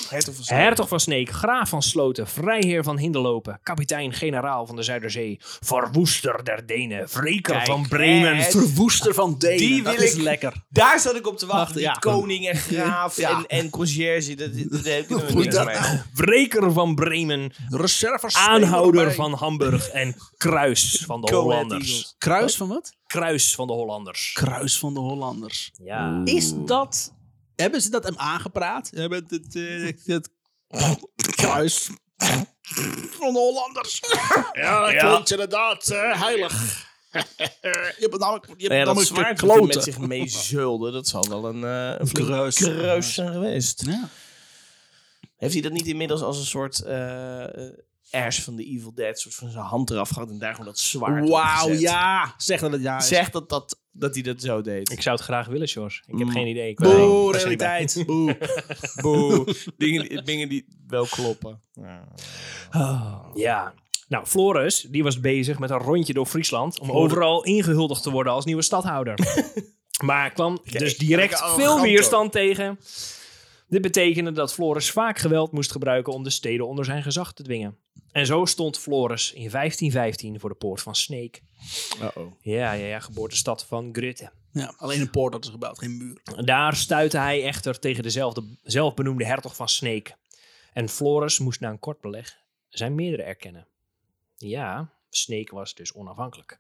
Speaker 3: Hertog van Sneek.
Speaker 2: Hertog van Sneek, graaf van Sloten, vrijheer van Hinderlopen, kapitein-generaal van de Zuiderzee, verwoester der Denen, wreker
Speaker 3: Kijk,
Speaker 2: van Bremen.
Speaker 3: hè,
Speaker 1: Verwoester van Denen.
Speaker 3: Die
Speaker 1: dat
Speaker 3: wil
Speaker 1: is
Speaker 3: ik-
Speaker 1: lekker.
Speaker 3: Daar zat ik op te wachten.
Speaker 1: Wacht, ja.
Speaker 3: Die Koning en graaf
Speaker 1: Ja.
Speaker 3: en, en conciërge. Dat, dat, dat heb ik nog
Speaker 1: Hoe
Speaker 3: niks
Speaker 1: dat
Speaker 3: mee.
Speaker 1: nou?
Speaker 2: wreker van Bremen,
Speaker 1: Reserve
Speaker 2: aanhouder van Hamburg en kruis van de
Speaker 3: Go Ahead
Speaker 2: Hollanders.
Speaker 3: Eagles.
Speaker 1: Kruis van wat?
Speaker 2: Kruis van de Hollanders.
Speaker 1: Kruis van de Hollanders.
Speaker 2: Ja.
Speaker 1: Is dat... Hebben ze dat hem aangepraat? Hebben het, eh, het kruis van de Hollanders? Ja, dat
Speaker 2: Ja.
Speaker 1: klinkt inderdaad eh, heilig. je hebt namelijk, je hebt
Speaker 3: Nou ja, dat
Speaker 1: namelijk
Speaker 3: zwaard
Speaker 1: de
Speaker 3: dat hij
Speaker 1: kloten.
Speaker 3: met zich mee zulde, dat zal wel een, eh een flinke
Speaker 1: kruis.
Speaker 3: kruis zijn geweest.
Speaker 1: Ja.
Speaker 3: Heeft hij dat niet inmiddels als een soort eh eh, Ash van de Evil Dead, soort van zijn hand eraf gehad en daar gewoon dat zwaard
Speaker 1: Wauw,
Speaker 3: opgezet?
Speaker 1: ja. Zeg dat het ja is.
Speaker 3: Zeg dat, dat, dat hij dat zo deed.
Speaker 2: Ik zou het graag willen, Sjors. Ik heb
Speaker 3: Mm.
Speaker 2: geen idee. Ik weet het niet.
Speaker 1: Boe,
Speaker 2: Ik was er niet bij.
Speaker 1: realiteit. Boe.
Speaker 3: Boe. dingen, die- dingen die wel kloppen.
Speaker 2: Ja. Oh. Nou, Floris, die was bezig met een rondje door Friesland om overal ingehuldigd te worden als nieuwe stadhouder. maar kwam dus direct
Speaker 3: lekker
Speaker 2: veel
Speaker 3: arrogant
Speaker 2: weerstand tegen. Dit betekende dat Floris vaak geweld moest gebruiken om de steden onder zijn gezag te dwingen. En zo stond Floris in 1515 voor de poort van Sneek.
Speaker 3: Uh-oh.
Speaker 2: Ja, ja, ja, geboortestad van Grutte.
Speaker 1: Ja, alleen een poort dat is gebouwd, geen muur.
Speaker 2: Daar stuitte hij echter tegen dezelfde zelfbenoemde hertog van Sneek. En Floris moest na een kort beleg zijn meerdere erkennen. Ja, Sneek was dus onafhankelijk.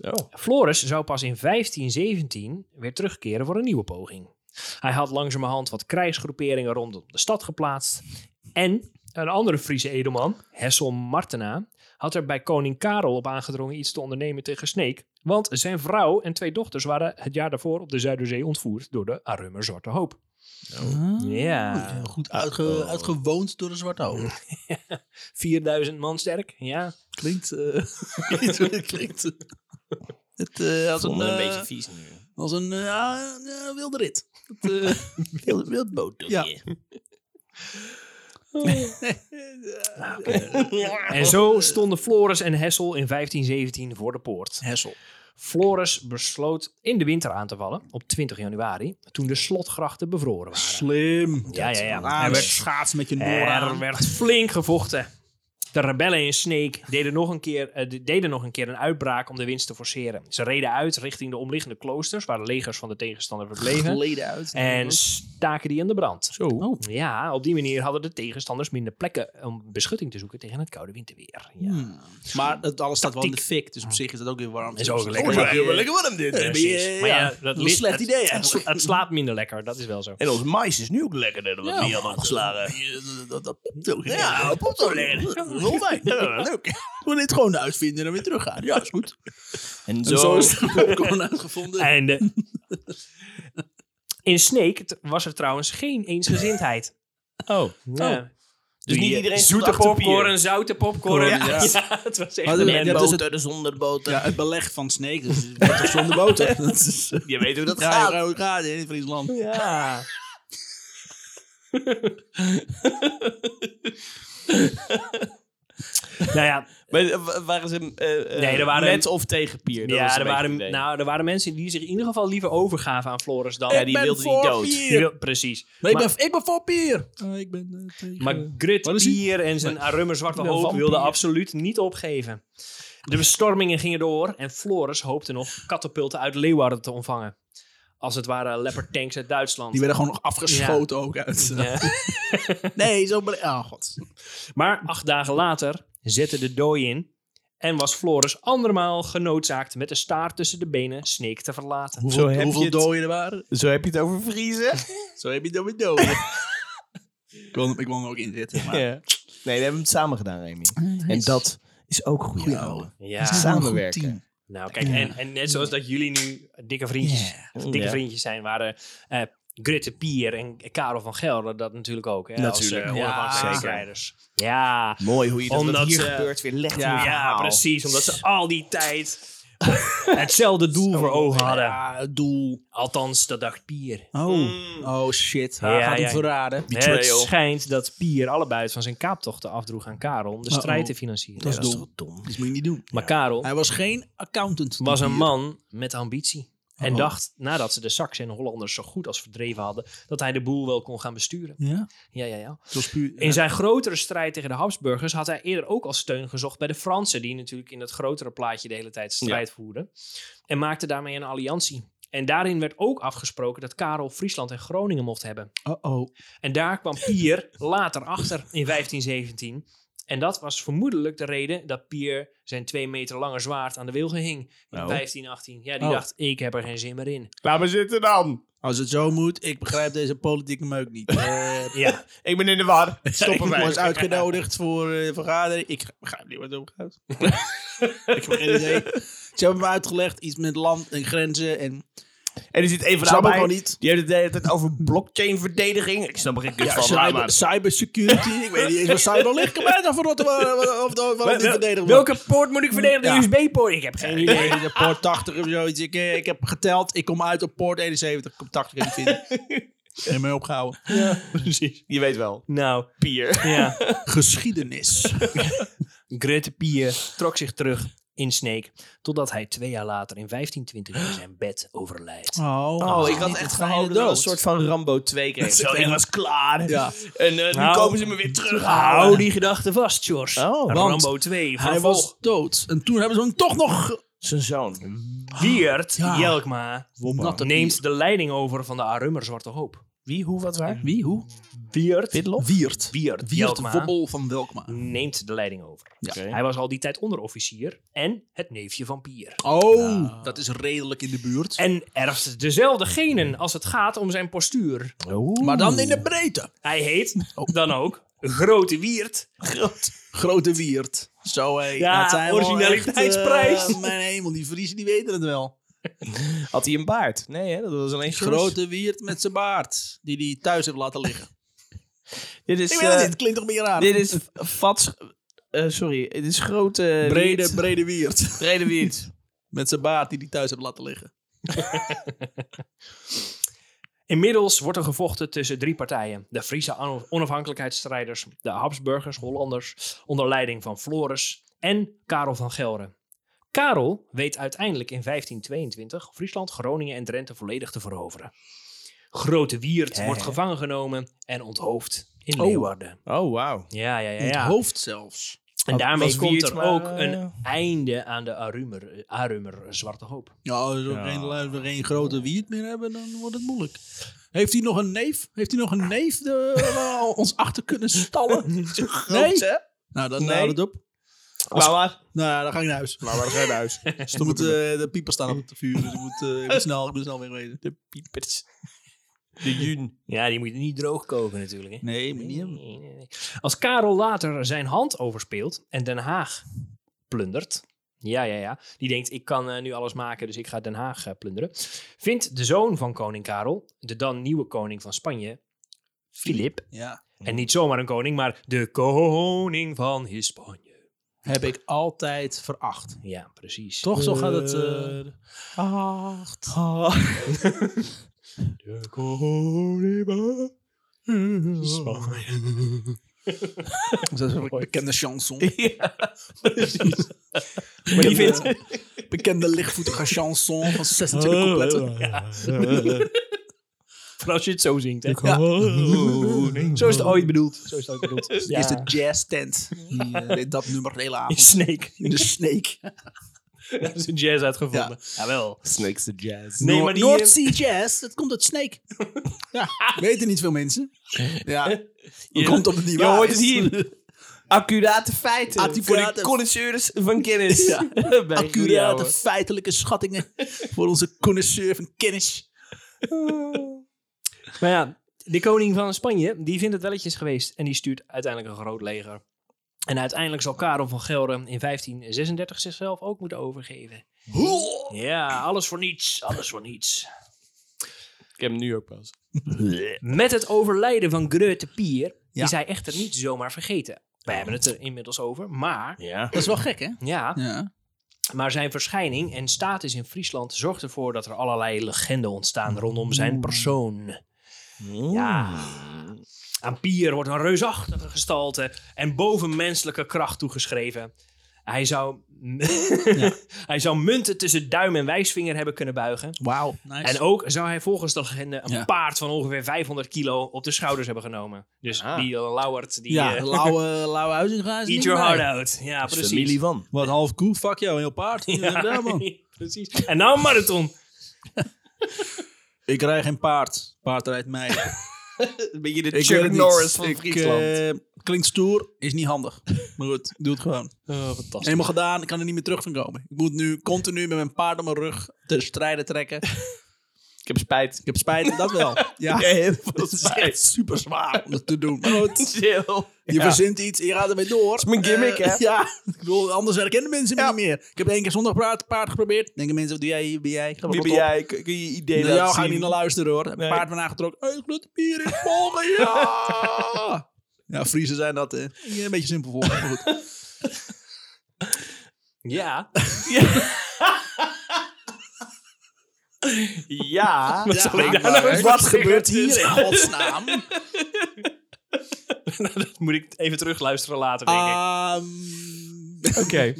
Speaker 3: Oh.
Speaker 2: Floris zou pas in 1517 weer terugkeren voor een nieuwe poging. Hij had langzamerhand wat krijgsgroeperingen rondom de stad geplaatst. En een andere Friese edelman, Hessel Martena, had er bij koning Karel op aangedrongen iets te ondernemen tegen Sneek. Want zijn vrouw en twee dochters waren het jaar daarvoor op de Zuiderzee ontvoerd door de Arummer Zwarte Hoop. Ja.
Speaker 1: Heel Oh, Goed uitge- uitgewoond door de zwarte ogen.
Speaker 2: 4000 man sterk, ja.
Speaker 1: Klinkt... eh, het klinkt... eh, Het, eh, als
Speaker 3: Dat is
Speaker 1: een,
Speaker 3: een
Speaker 1: eh,
Speaker 3: beetje vies nu.
Speaker 1: Als een eh, ja, eh, wilde rit. Het, eh, wilde, wildboot. Ja.
Speaker 2: En zo stonden Floris en Hessel in 1517 voor de poort.
Speaker 1: Hessel.
Speaker 2: Floris besloot in de winter aan te vallen op 20 januari, toen de slotgrachten bevroren waren.
Speaker 1: Slim.
Speaker 2: Ja, ja, ja.
Speaker 1: Ah,
Speaker 2: Hij werd-
Speaker 1: schaats met je
Speaker 2: Er
Speaker 1: noorden.
Speaker 2: werd flink gevochten. De rebellen in Sneek deden nog, een keer, eh, de- deden nog een keer een uitbraak om de winst te forceren. Ze reden uit richting de omliggende kloosters, waar de legers van de tegenstander verbleven.
Speaker 1: Leden uit.
Speaker 2: En staken die in de brand.
Speaker 1: zo. Oh.
Speaker 2: Ja, op die manier hadden de tegenstanders minder plekken om beschutting te zoeken tegen het koude winterweer. Ja.
Speaker 3: Hmm.
Speaker 1: Hmm. Maar het, alles staat wel in de fik, dus op zich is dat ook weer warm.
Speaker 2: Is
Speaker 1: Dus-
Speaker 2: ook lekker.
Speaker 1: Oh, ja,
Speaker 2: Ja,
Speaker 1: ja, ja.
Speaker 3: warm dit.
Speaker 1: Ja,
Speaker 3: hè.
Speaker 1: ben je-
Speaker 2: Maar ja,
Speaker 1: ja,
Speaker 2: dat
Speaker 1: een
Speaker 2: li-
Speaker 1: slecht
Speaker 2: het-
Speaker 1: idee
Speaker 2: Het,
Speaker 1: eigenlijk.
Speaker 2: sla- het slaapt minder lekker, dat is wel zo.
Speaker 3: En ons mais is nu ook lekkerder dan wat we
Speaker 1: Ja,
Speaker 3: hier hadden geslagen.
Speaker 1: Ja, Dat, dat popt ook.
Speaker 3: Ja, pop zo lekker. Dat is wel fijn. Ja, leuk.
Speaker 1: We dit gewoon uitvinden en dan weer teruggaan. Ja, is goed.
Speaker 3: En
Speaker 1: En zo is de popcorn uitgevonden.
Speaker 2: Einde. In Snake t- was er trouwens geen eensgezindheid.
Speaker 3: Oh.
Speaker 2: Ja.
Speaker 3: Dus niet iedereen stond
Speaker 2: zoete
Speaker 3: achter de
Speaker 2: popcorn,
Speaker 3: bier.
Speaker 2: zoute popcorn.
Speaker 1: Ja.
Speaker 2: Ja. het was echt
Speaker 1: Maar
Speaker 2: een
Speaker 1: dat-
Speaker 2: en-
Speaker 1: dat- is het-
Speaker 3: zonder boter.
Speaker 1: Ja, het beleg van Snake, dus het wordt toch zonder boter. Dat is,
Speaker 3: Je weet hoe dat
Speaker 1: ja, ja, ja, in Friesland.
Speaker 2: Ja. nou ja,
Speaker 3: Maar, eh, wa- waren ze eh, eh,
Speaker 2: Nee, er waren-
Speaker 3: met of tegen Pier? Dat was
Speaker 2: Ja,
Speaker 3: een
Speaker 2: er
Speaker 3: beetje
Speaker 2: waren,
Speaker 3: het idee.
Speaker 2: nou, er waren mensen die zich in ieder geval liever overgaven aan Floris dan...
Speaker 3: ja, die
Speaker 1: ben
Speaker 3: wilde
Speaker 1: voor
Speaker 3: niet dood.
Speaker 1: Pier.
Speaker 2: Die wil- precies.
Speaker 1: Maar ik
Speaker 2: Maar-
Speaker 1: ben, ik ben voor Pier. ik ben eh, tegen...
Speaker 2: Maar Grit
Speaker 1: Wat is die?
Speaker 2: Pier en zijn arumme zwarte
Speaker 1: Een
Speaker 2: hoop
Speaker 1: vampier.
Speaker 2: wilden absoluut niet opgeven. De bestormingen gingen door en Floris hoopte nog katapulten uit Leeuwarden te ontvangen. Als het waren leopardtanks uit Duitsland. Eh,
Speaker 1: Die werden gewoon nog afgeschoten ook uit.
Speaker 2: Ja.
Speaker 1: Nee, zo ben ik... Oh, god.
Speaker 2: Maar acht dagen later zette de dooi in en was Floris andermaal genoodzaakt met de staart tussen de benen Sneek te verlaten.
Speaker 1: Hoeveel,
Speaker 3: heb je
Speaker 1: hoeveel
Speaker 3: het.
Speaker 1: doden er waren?
Speaker 3: Zo heb je het over vriezen.
Speaker 1: Zo heb je dan weer doden. ik, wil, ik wil hem ook inzitten, maar...
Speaker 3: Ja. Nee, we hebben het samen gedaan, Remy. En Mm, dat is ook goed.
Speaker 1: Goeie ouwe.
Speaker 2: Ja,
Speaker 3: Samenwerken.
Speaker 2: nou kijk, en, en net zoals dat jullie nu dikke vriendjes,
Speaker 3: Ja.
Speaker 2: dikke
Speaker 3: Ja.
Speaker 2: vriendjes zijn, waren eh Gritte Pier en Karel van Gelder dat natuurlijk ook. Hè,
Speaker 3: Natuurlijk.
Speaker 2: als,
Speaker 3: Ja,
Speaker 2: eh, onafhankelijkheidsstrijders. Ja,
Speaker 3: Mooi hoe je dat
Speaker 2: Omdat
Speaker 3: wat hier
Speaker 2: ze-
Speaker 3: gebeurt weer legt. in
Speaker 2: ja,
Speaker 3: je verhaal.
Speaker 2: precies, omdat ze al die tijd hetzelfde doel voor ogen hadden.
Speaker 1: Oh, Ja, het doel.
Speaker 2: Althans, dat dacht Pier.
Speaker 1: Oh, oh shit. Hij
Speaker 2: Ja,
Speaker 1: gaat hem
Speaker 2: ja.
Speaker 1: verraden.
Speaker 2: Ja, het schijnt dat Pier allebei het van zijn kaaptochten afdroeg aan Karel om de
Speaker 1: Uh-oh.
Speaker 2: strijd te financieren.
Speaker 1: Dat is
Speaker 2: Ja,
Speaker 1: dom. Dat moet je niet doen.
Speaker 2: Maar Karel
Speaker 1: Hij was geen accountant. die
Speaker 2: was een
Speaker 1: Pier.
Speaker 2: man met ambitie. En
Speaker 1: Oh.
Speaker 2: dacht, nadat ze de Saxen en Hollanders zo goed als verdreven hadden, dat hij de boel wel kon gaan besturen.
Speaker 1: Ja,
Speaker 2: Ja, ja, ja.
Speaker 1: zoals puur...
Speaker 2: In zijn grotere strijd tegen de Habsburgers had hij eerder ook al steun gezocht bij de Fransen, die natuurlijk in dat grotere plaatje de hele tijd strijd voerden. En maakte daarmee een alliantie. En daarin werd ook afgesproken dat Karel Friesland en Groningen mocht hebben.
Speaker 1: Uh-oh.
Speaker 2: En daar kwam Pier later achter in 1517. En dat was vermoedelijk de reden dat Pier zijn twee meter lange zwaard aan de wilgen hing in 1518. Ja, die
Speaker 1: Nou. Oh.
Speaker 2: dacht, ik heb er geen zin meer in.
Speaker 3: Laat me zitten dan.
Speaker 1: Als het zo moet, ik begrijp deze politieke meuk niet. Eh,
Speaker 2: Ja,
Speaker 3: Ik ben in de war.
Speaker 1: Ik
Speaker 3: Stoppen
Speaker 1: was
Speaker 3: wij.
Speaker 1: uitgenodigd voor eh, een vergadering. Ik begrijp niet wat het over gaat. ik heb geen idee. Ze hebben me uitgelegd iets met land en grenzen. En
Speaker 3: En er zit
Speaker 1: Ik
Speaker 3: even
Speaker 1: snap
Speaker 3: daarbij.
Speaker 1: ook wel niet.
Speaker 3: Die heeft het de hele tijd over blockchain-verdediging. Ik snap er geen kut
Speaker 1: ja,
Speaker 3: van. laat
Speaker 1: cyber,
Speaker 3: maar.
Speaker 1: cybersecurity. ik weet niet eens wat cyber ligt. Ik ben voor wat of dat wat niet verdedigd wordt.
Speaker 2: welke poort moet ik verdedigen?
Speaker 1: Ja.
Speaker 2: De USB-poort? Ik heb geen idee.
Speaker 1: Nee, de poort 80 of zoiets. Ik, eh, ik heb geteld. Ik kom uit op poort 71. Ik kom 80 en ik vind. En mij opgehouden.
Speaker 2: Precies.
Speaker 3: Je weet wel.
Speaker 2: Nou,
Speaker 3: Pier.
Speaker 2: ja.
Speaker 1: Geschiedenis.
Speaker 2: Grete Pier trok zich terug in Sneek, totdat hij twee jaar later in 1520 in zijn bed overlijdt.
Speaker 1: Oh,
Speaker 3: Oh, ik had echt gehouden dat we een soort van Rambo 2 kreeg. Zo, ik was klaar.
Speaker 1: Ja.
Speaker 3: En eh, nu
Speaker 2: Nou.
Speaker 3: komen ze me weer terug
Speaker 2: Hou
Speaker 3: halen.
Speaker 2: die gedachte vast, George.
Speaker 3: Oh, want
Speaker 2: Rambo 2,
Speaker 1: Hij was dood. En toen hebben ze hem toch nog...
Speaker 3: Zijn zoon.
Speaker 2: Wiert
Speaker 1: Ja.
Speaker 2: Jelkma
Speaker 1: Natte
Speaker 2: neemt de leiding over van de Arummer Zwarte Hoop.
Speaker 3: Wie, hoe, wat, waar?
Speaker 1: Wie? Hoe?
Speaker 2: Wiert,
Speaker 3: Witlof?
Speaker 1: Wiert.
Speaker 2: Wiert
Speaker 1: Wiert
Speaker 2: Jelkma
Speaker 1: Wobbel van Welkma.
Speaker 2: neemt de leiding over. Hij was al die tijd onderofficier en het neefje van Pier.
Speaker 1: Oh, dat is redelijk in de buurt.
Speaker 2: En erft dezelfde genen als het gaat om zijn postuur.
Speaker 1: maar dan in de breedte.
Speaker 2: Hij heet dan ook Grote Wiert.
Speaker 1: Grote Wiert. Zo hé.
Speaker 2: Ja,
Speaker 1: dat zijn wel
Speaker 2: originaliteitsprijs.
Speaker 1: echt, eh, mijn hemel, die Friesen die weten het wel.
Speaker 3: Had hij een baard? Nee, hè? dat was alleen George.
Speaker 1: Grote Wiert met zijn baard. Die hij thuis heeft laten liggen.
Speaker 3: Dit is,
Speaker 1: Ik weet het
Speaker 3: eh,
Speaker 1: niet, het klinkt toch meer raar.
Speaker 3: dit is Vats... eh, sorry, dit is grote...
Speaker 1: brede,
Speaker 3: wiet.
Speaker 1: brede Wiert.
Speaker 3: Brede wiet.
Speaker 1: Met zijn baard die hij thuis heeft laten liggen.
Speaker 2: Inmiddels wordt er gevochten tussen drie partijen. De Friese on- onafhankelijkheidsstrijders, de Habsburgers, Hollanders, onder leiding van Floris en Karel van Gelre. Karel weet uiteindelijk in 1522 Friesland, Groningen en Drenthe volledig te veroveren. Grote Wiert wordt gevangen genomen en onthoofd in
Speaker 1: Oh.
Speaker 2: Leeuwarden.
Speaker 3: Oh, wauw.
Speaker 2: Ja, ja, ja.
Speaker 1: In het
Speaker 2: ja.
Speaker 1: hoofd zelfs.
Speaker 2: En daarmee
Speaker 3: was
Speaker 2: komt
Speaker 3: Wiert
Speaker 2: er
Speaker 3: maar,
Speaker 2: ook
Speaker 3: eh,
Speaker 2: een einde aan de Arumer, Arumer Zwarte Hoop.
Speaker 1: Ja, als we, Geen, als we geen grote Wiert meer hebben, dan wordt het moeilijk. Heeft hij nog een neef? Heeft hij nog een neef eh, ons achter kunnen stallen?
Speaker 3: Nee.
Speaker 1: Nee? Nou, dan
Speaker 3: Nee.
Speaker 1: houdt het op.
Speaker 3: Laat maar.
Speaker 1: Nou ja, dan ga ik naar huis.
Speaker 3: Laat maar, dan ga je naar huis.
Speaker 1: Dus dan moet eh, de pieper staan op het vuur. Dus ik moet, eh, ik moet snel, ik moet snel wegwezen.
Speaker 3: De piepers. De jun.
Speaker 2: Ja, die moet je niet droog koken natuurlijk. Hè?
Speaker 1: Nee, maar niet hem.
Speaker 2: Nee, nee, nee. Als Karel later zijn hand overspeelt en Den Haag plundert. Ja, ja, ja. Die denkt, ik kan eh, nu alles maken, dus ik ga Den Haag eh, plunderen. Vindt de zoon van koning Karel, de dan nieuwe koning van Spanje, Filip.
Speaker 1: Ja.
Speaker 2: En niet zomaar een koning, maar de koning van Hispanje.
Speaker 1: Heb ik altijd veracht.
Speaker 2: Ja, precies.
Speaker 1: Toch, zo gaat het. eh,
Speaker 3: Eh, Acht. De koning van Spanje.
Speaker 1: Dat is een bekende chanson.
Speaker 3: Maar die vindt...
Speaker 1: Bekende lichtvoetige chanson van 26 coupletten. eh,
Speaker 2: Vooral als je het zo zingt. Hè?
Speaker 3: Oh. Zo is het ooit bedoeld.
Speaker 2: Zo is het ook bedoeld.
Speaker 1: Is de jazz tent. Die, eh, deed dat nummer de hele avond.
Speaker 2: Snake.
Speaker 1: In de Snake.
Speaker 2: Daar is een jazz uitgevonden. Jawel.
Speaker 3: Snakes the jazz.
Speaker 2: Nee, maar die... eh,
Speaker 1: North Sea Jazz, dat komt uit Snake. ja, weten niet veel mensen. Ja, dat komt op het
Speaker 3: Je
Speaker 1: nieuwe.
Speaker 3: hoort het hier. Accurate feiten. Voor
Speaker 1: Accurate-
Speaker 3: de connoisseurs van kennis.
Speaker 1: Ja.
Speaker 3: Bij Guido,
Speaker 1: Accurate
Speaker 3: hoor.
Speaker 1: feitelijke schattingen voor onze connoisseur van kennis.
Speaker 2: Maar ja, de koning van Spanje, die vindt het welletjes geweest. En die stuurt uiteindelijk een groot leger. En uiteindelijk zal Karel van Gelre in 1536 zichzelf ook moeten overgeven. Ja, alles voor niets. Alles voor niets.
Speaker 3: Ik heb hem nu ook pas.
Speaker 2: Met het overlijden van Grote Pier
Speaker 1: Ja.
Speaker 2: is hij echter niet zomaar vergeten. We hebben het er inmiddels over, maar
Speaker 3: Ja.
Speaker 1: Dat is wel gek, hè?
Speaker 2: ja,
Speaker 1: Ja.
Speaker 2: maar zijn verschijning en status in Friesland zorgt ervoor dat er allerlei legenden ontstaan rondom zijn persoon.
Speaker 3: Mm.
Speaker 2: Ja. Aan Pier wordt een reusachtige gestalte en bovenmenselijke kracht toegeschreven. Hij zou, hij zou munten tussen duim en wijsvinger hebben kunnen buigen.
Speaker 1: Wauw. Nice.
Speaker 2: En ook zou hij volgens de legende een
Speaker 1: Ja.
Speaker 2: paard van ongeveer 500 kilo op de schouders hebben genomen. Dus
Speaker 3: Ah.
Speaker 2: die Lauwert, die...
Speaker 1: ja,
Speaker 2: eh,
Speaker 1: lauwe, lauwe huizinga is er
Speaker 2: eat
Speaker 1: niet
Speaker 2: your
Speaker 1: bij.
Speaker 2: heart out. Ja, precies.
Speaker 3: van.
Speaker 1: Wat half koe, fuck jou, een heel paard.
Speaker 2: Ja,
Speaker 1: Ja, man.
Speaker 2: precies. En nou een marathon.
Speaker 1: Ik rij geen paard. Paard rijdt mij.
Speaker 3: Eh, Een beetje de
Speaker 1: Ik weet
Speaker 3: Chuck
Speaker 1: het niet.
Speaker 3: Norris van
Speaker 1: Ik,
Speaker 3: Friesland.
Speaker 1: eh, klinkt stoer, is niet handig. Maar goed, doe het gewoon.
Speaker 3: Oh,
Speaker 2: fantastisch.
Speaker 1: Helemaal gedaan, ik kan er niet meer terug van komen. Ik moet nu continu met mijn paard op mijn rug de strijden trekken.
Speaker 3: ik heb spijt.
Speaker 1: Ik heb spijt, dat wel. Ja,
Speaker 3: Heel veel
Speaker 1: dat is
Speaker 3: spijt.
Speaker 1: echt super zwaar om dat te doen. Maar goed,
Speaker 3: Chill.
Speaker 1: je verzint iets en je gaat ermee door. Dat is
Speaker 3: mijn gimmick, hè?
Speaker 1: Ja, ik bedoel, anders herkennen mensen me niet meer. Ik heb één keer zondag paard, paard geprobeerd. Denken mensen, wat doe jij, wie ben jij? Ga maar
Speaker 3: Wie ben
Speaker 1: rot op.
Speaker 3: jij? Kun kun je je idee
Speaker 1: Naar jou
Speaker 3: laten
Speaker 1: ga ik niet
Speaker 3: zien?
Speaker 1: naar luisteren hoor. Heb
Speaker 3: Nee.
Speaker 1: Paard ben aangetrokken. Hey, grote bier in volgen, ja! ja, Friesen zijn dat. eh, een beetje simpel voor me, maar goed.
Speaker 2: Ja.
Speaker 3: Ja.
Speaker 2: Wat zal ik daar nou eens
Speaker 1: wat
Speaker 2: voor
Speaker 1: gebeurt
Speaker 2: zeggen?
Speaker 1: hier in godsnaam?
Speaker 2: Nou, Dat moet ik even terugluisteren later, denk ik.
Speaker 1: Ehm,
Speaker 3: Oké.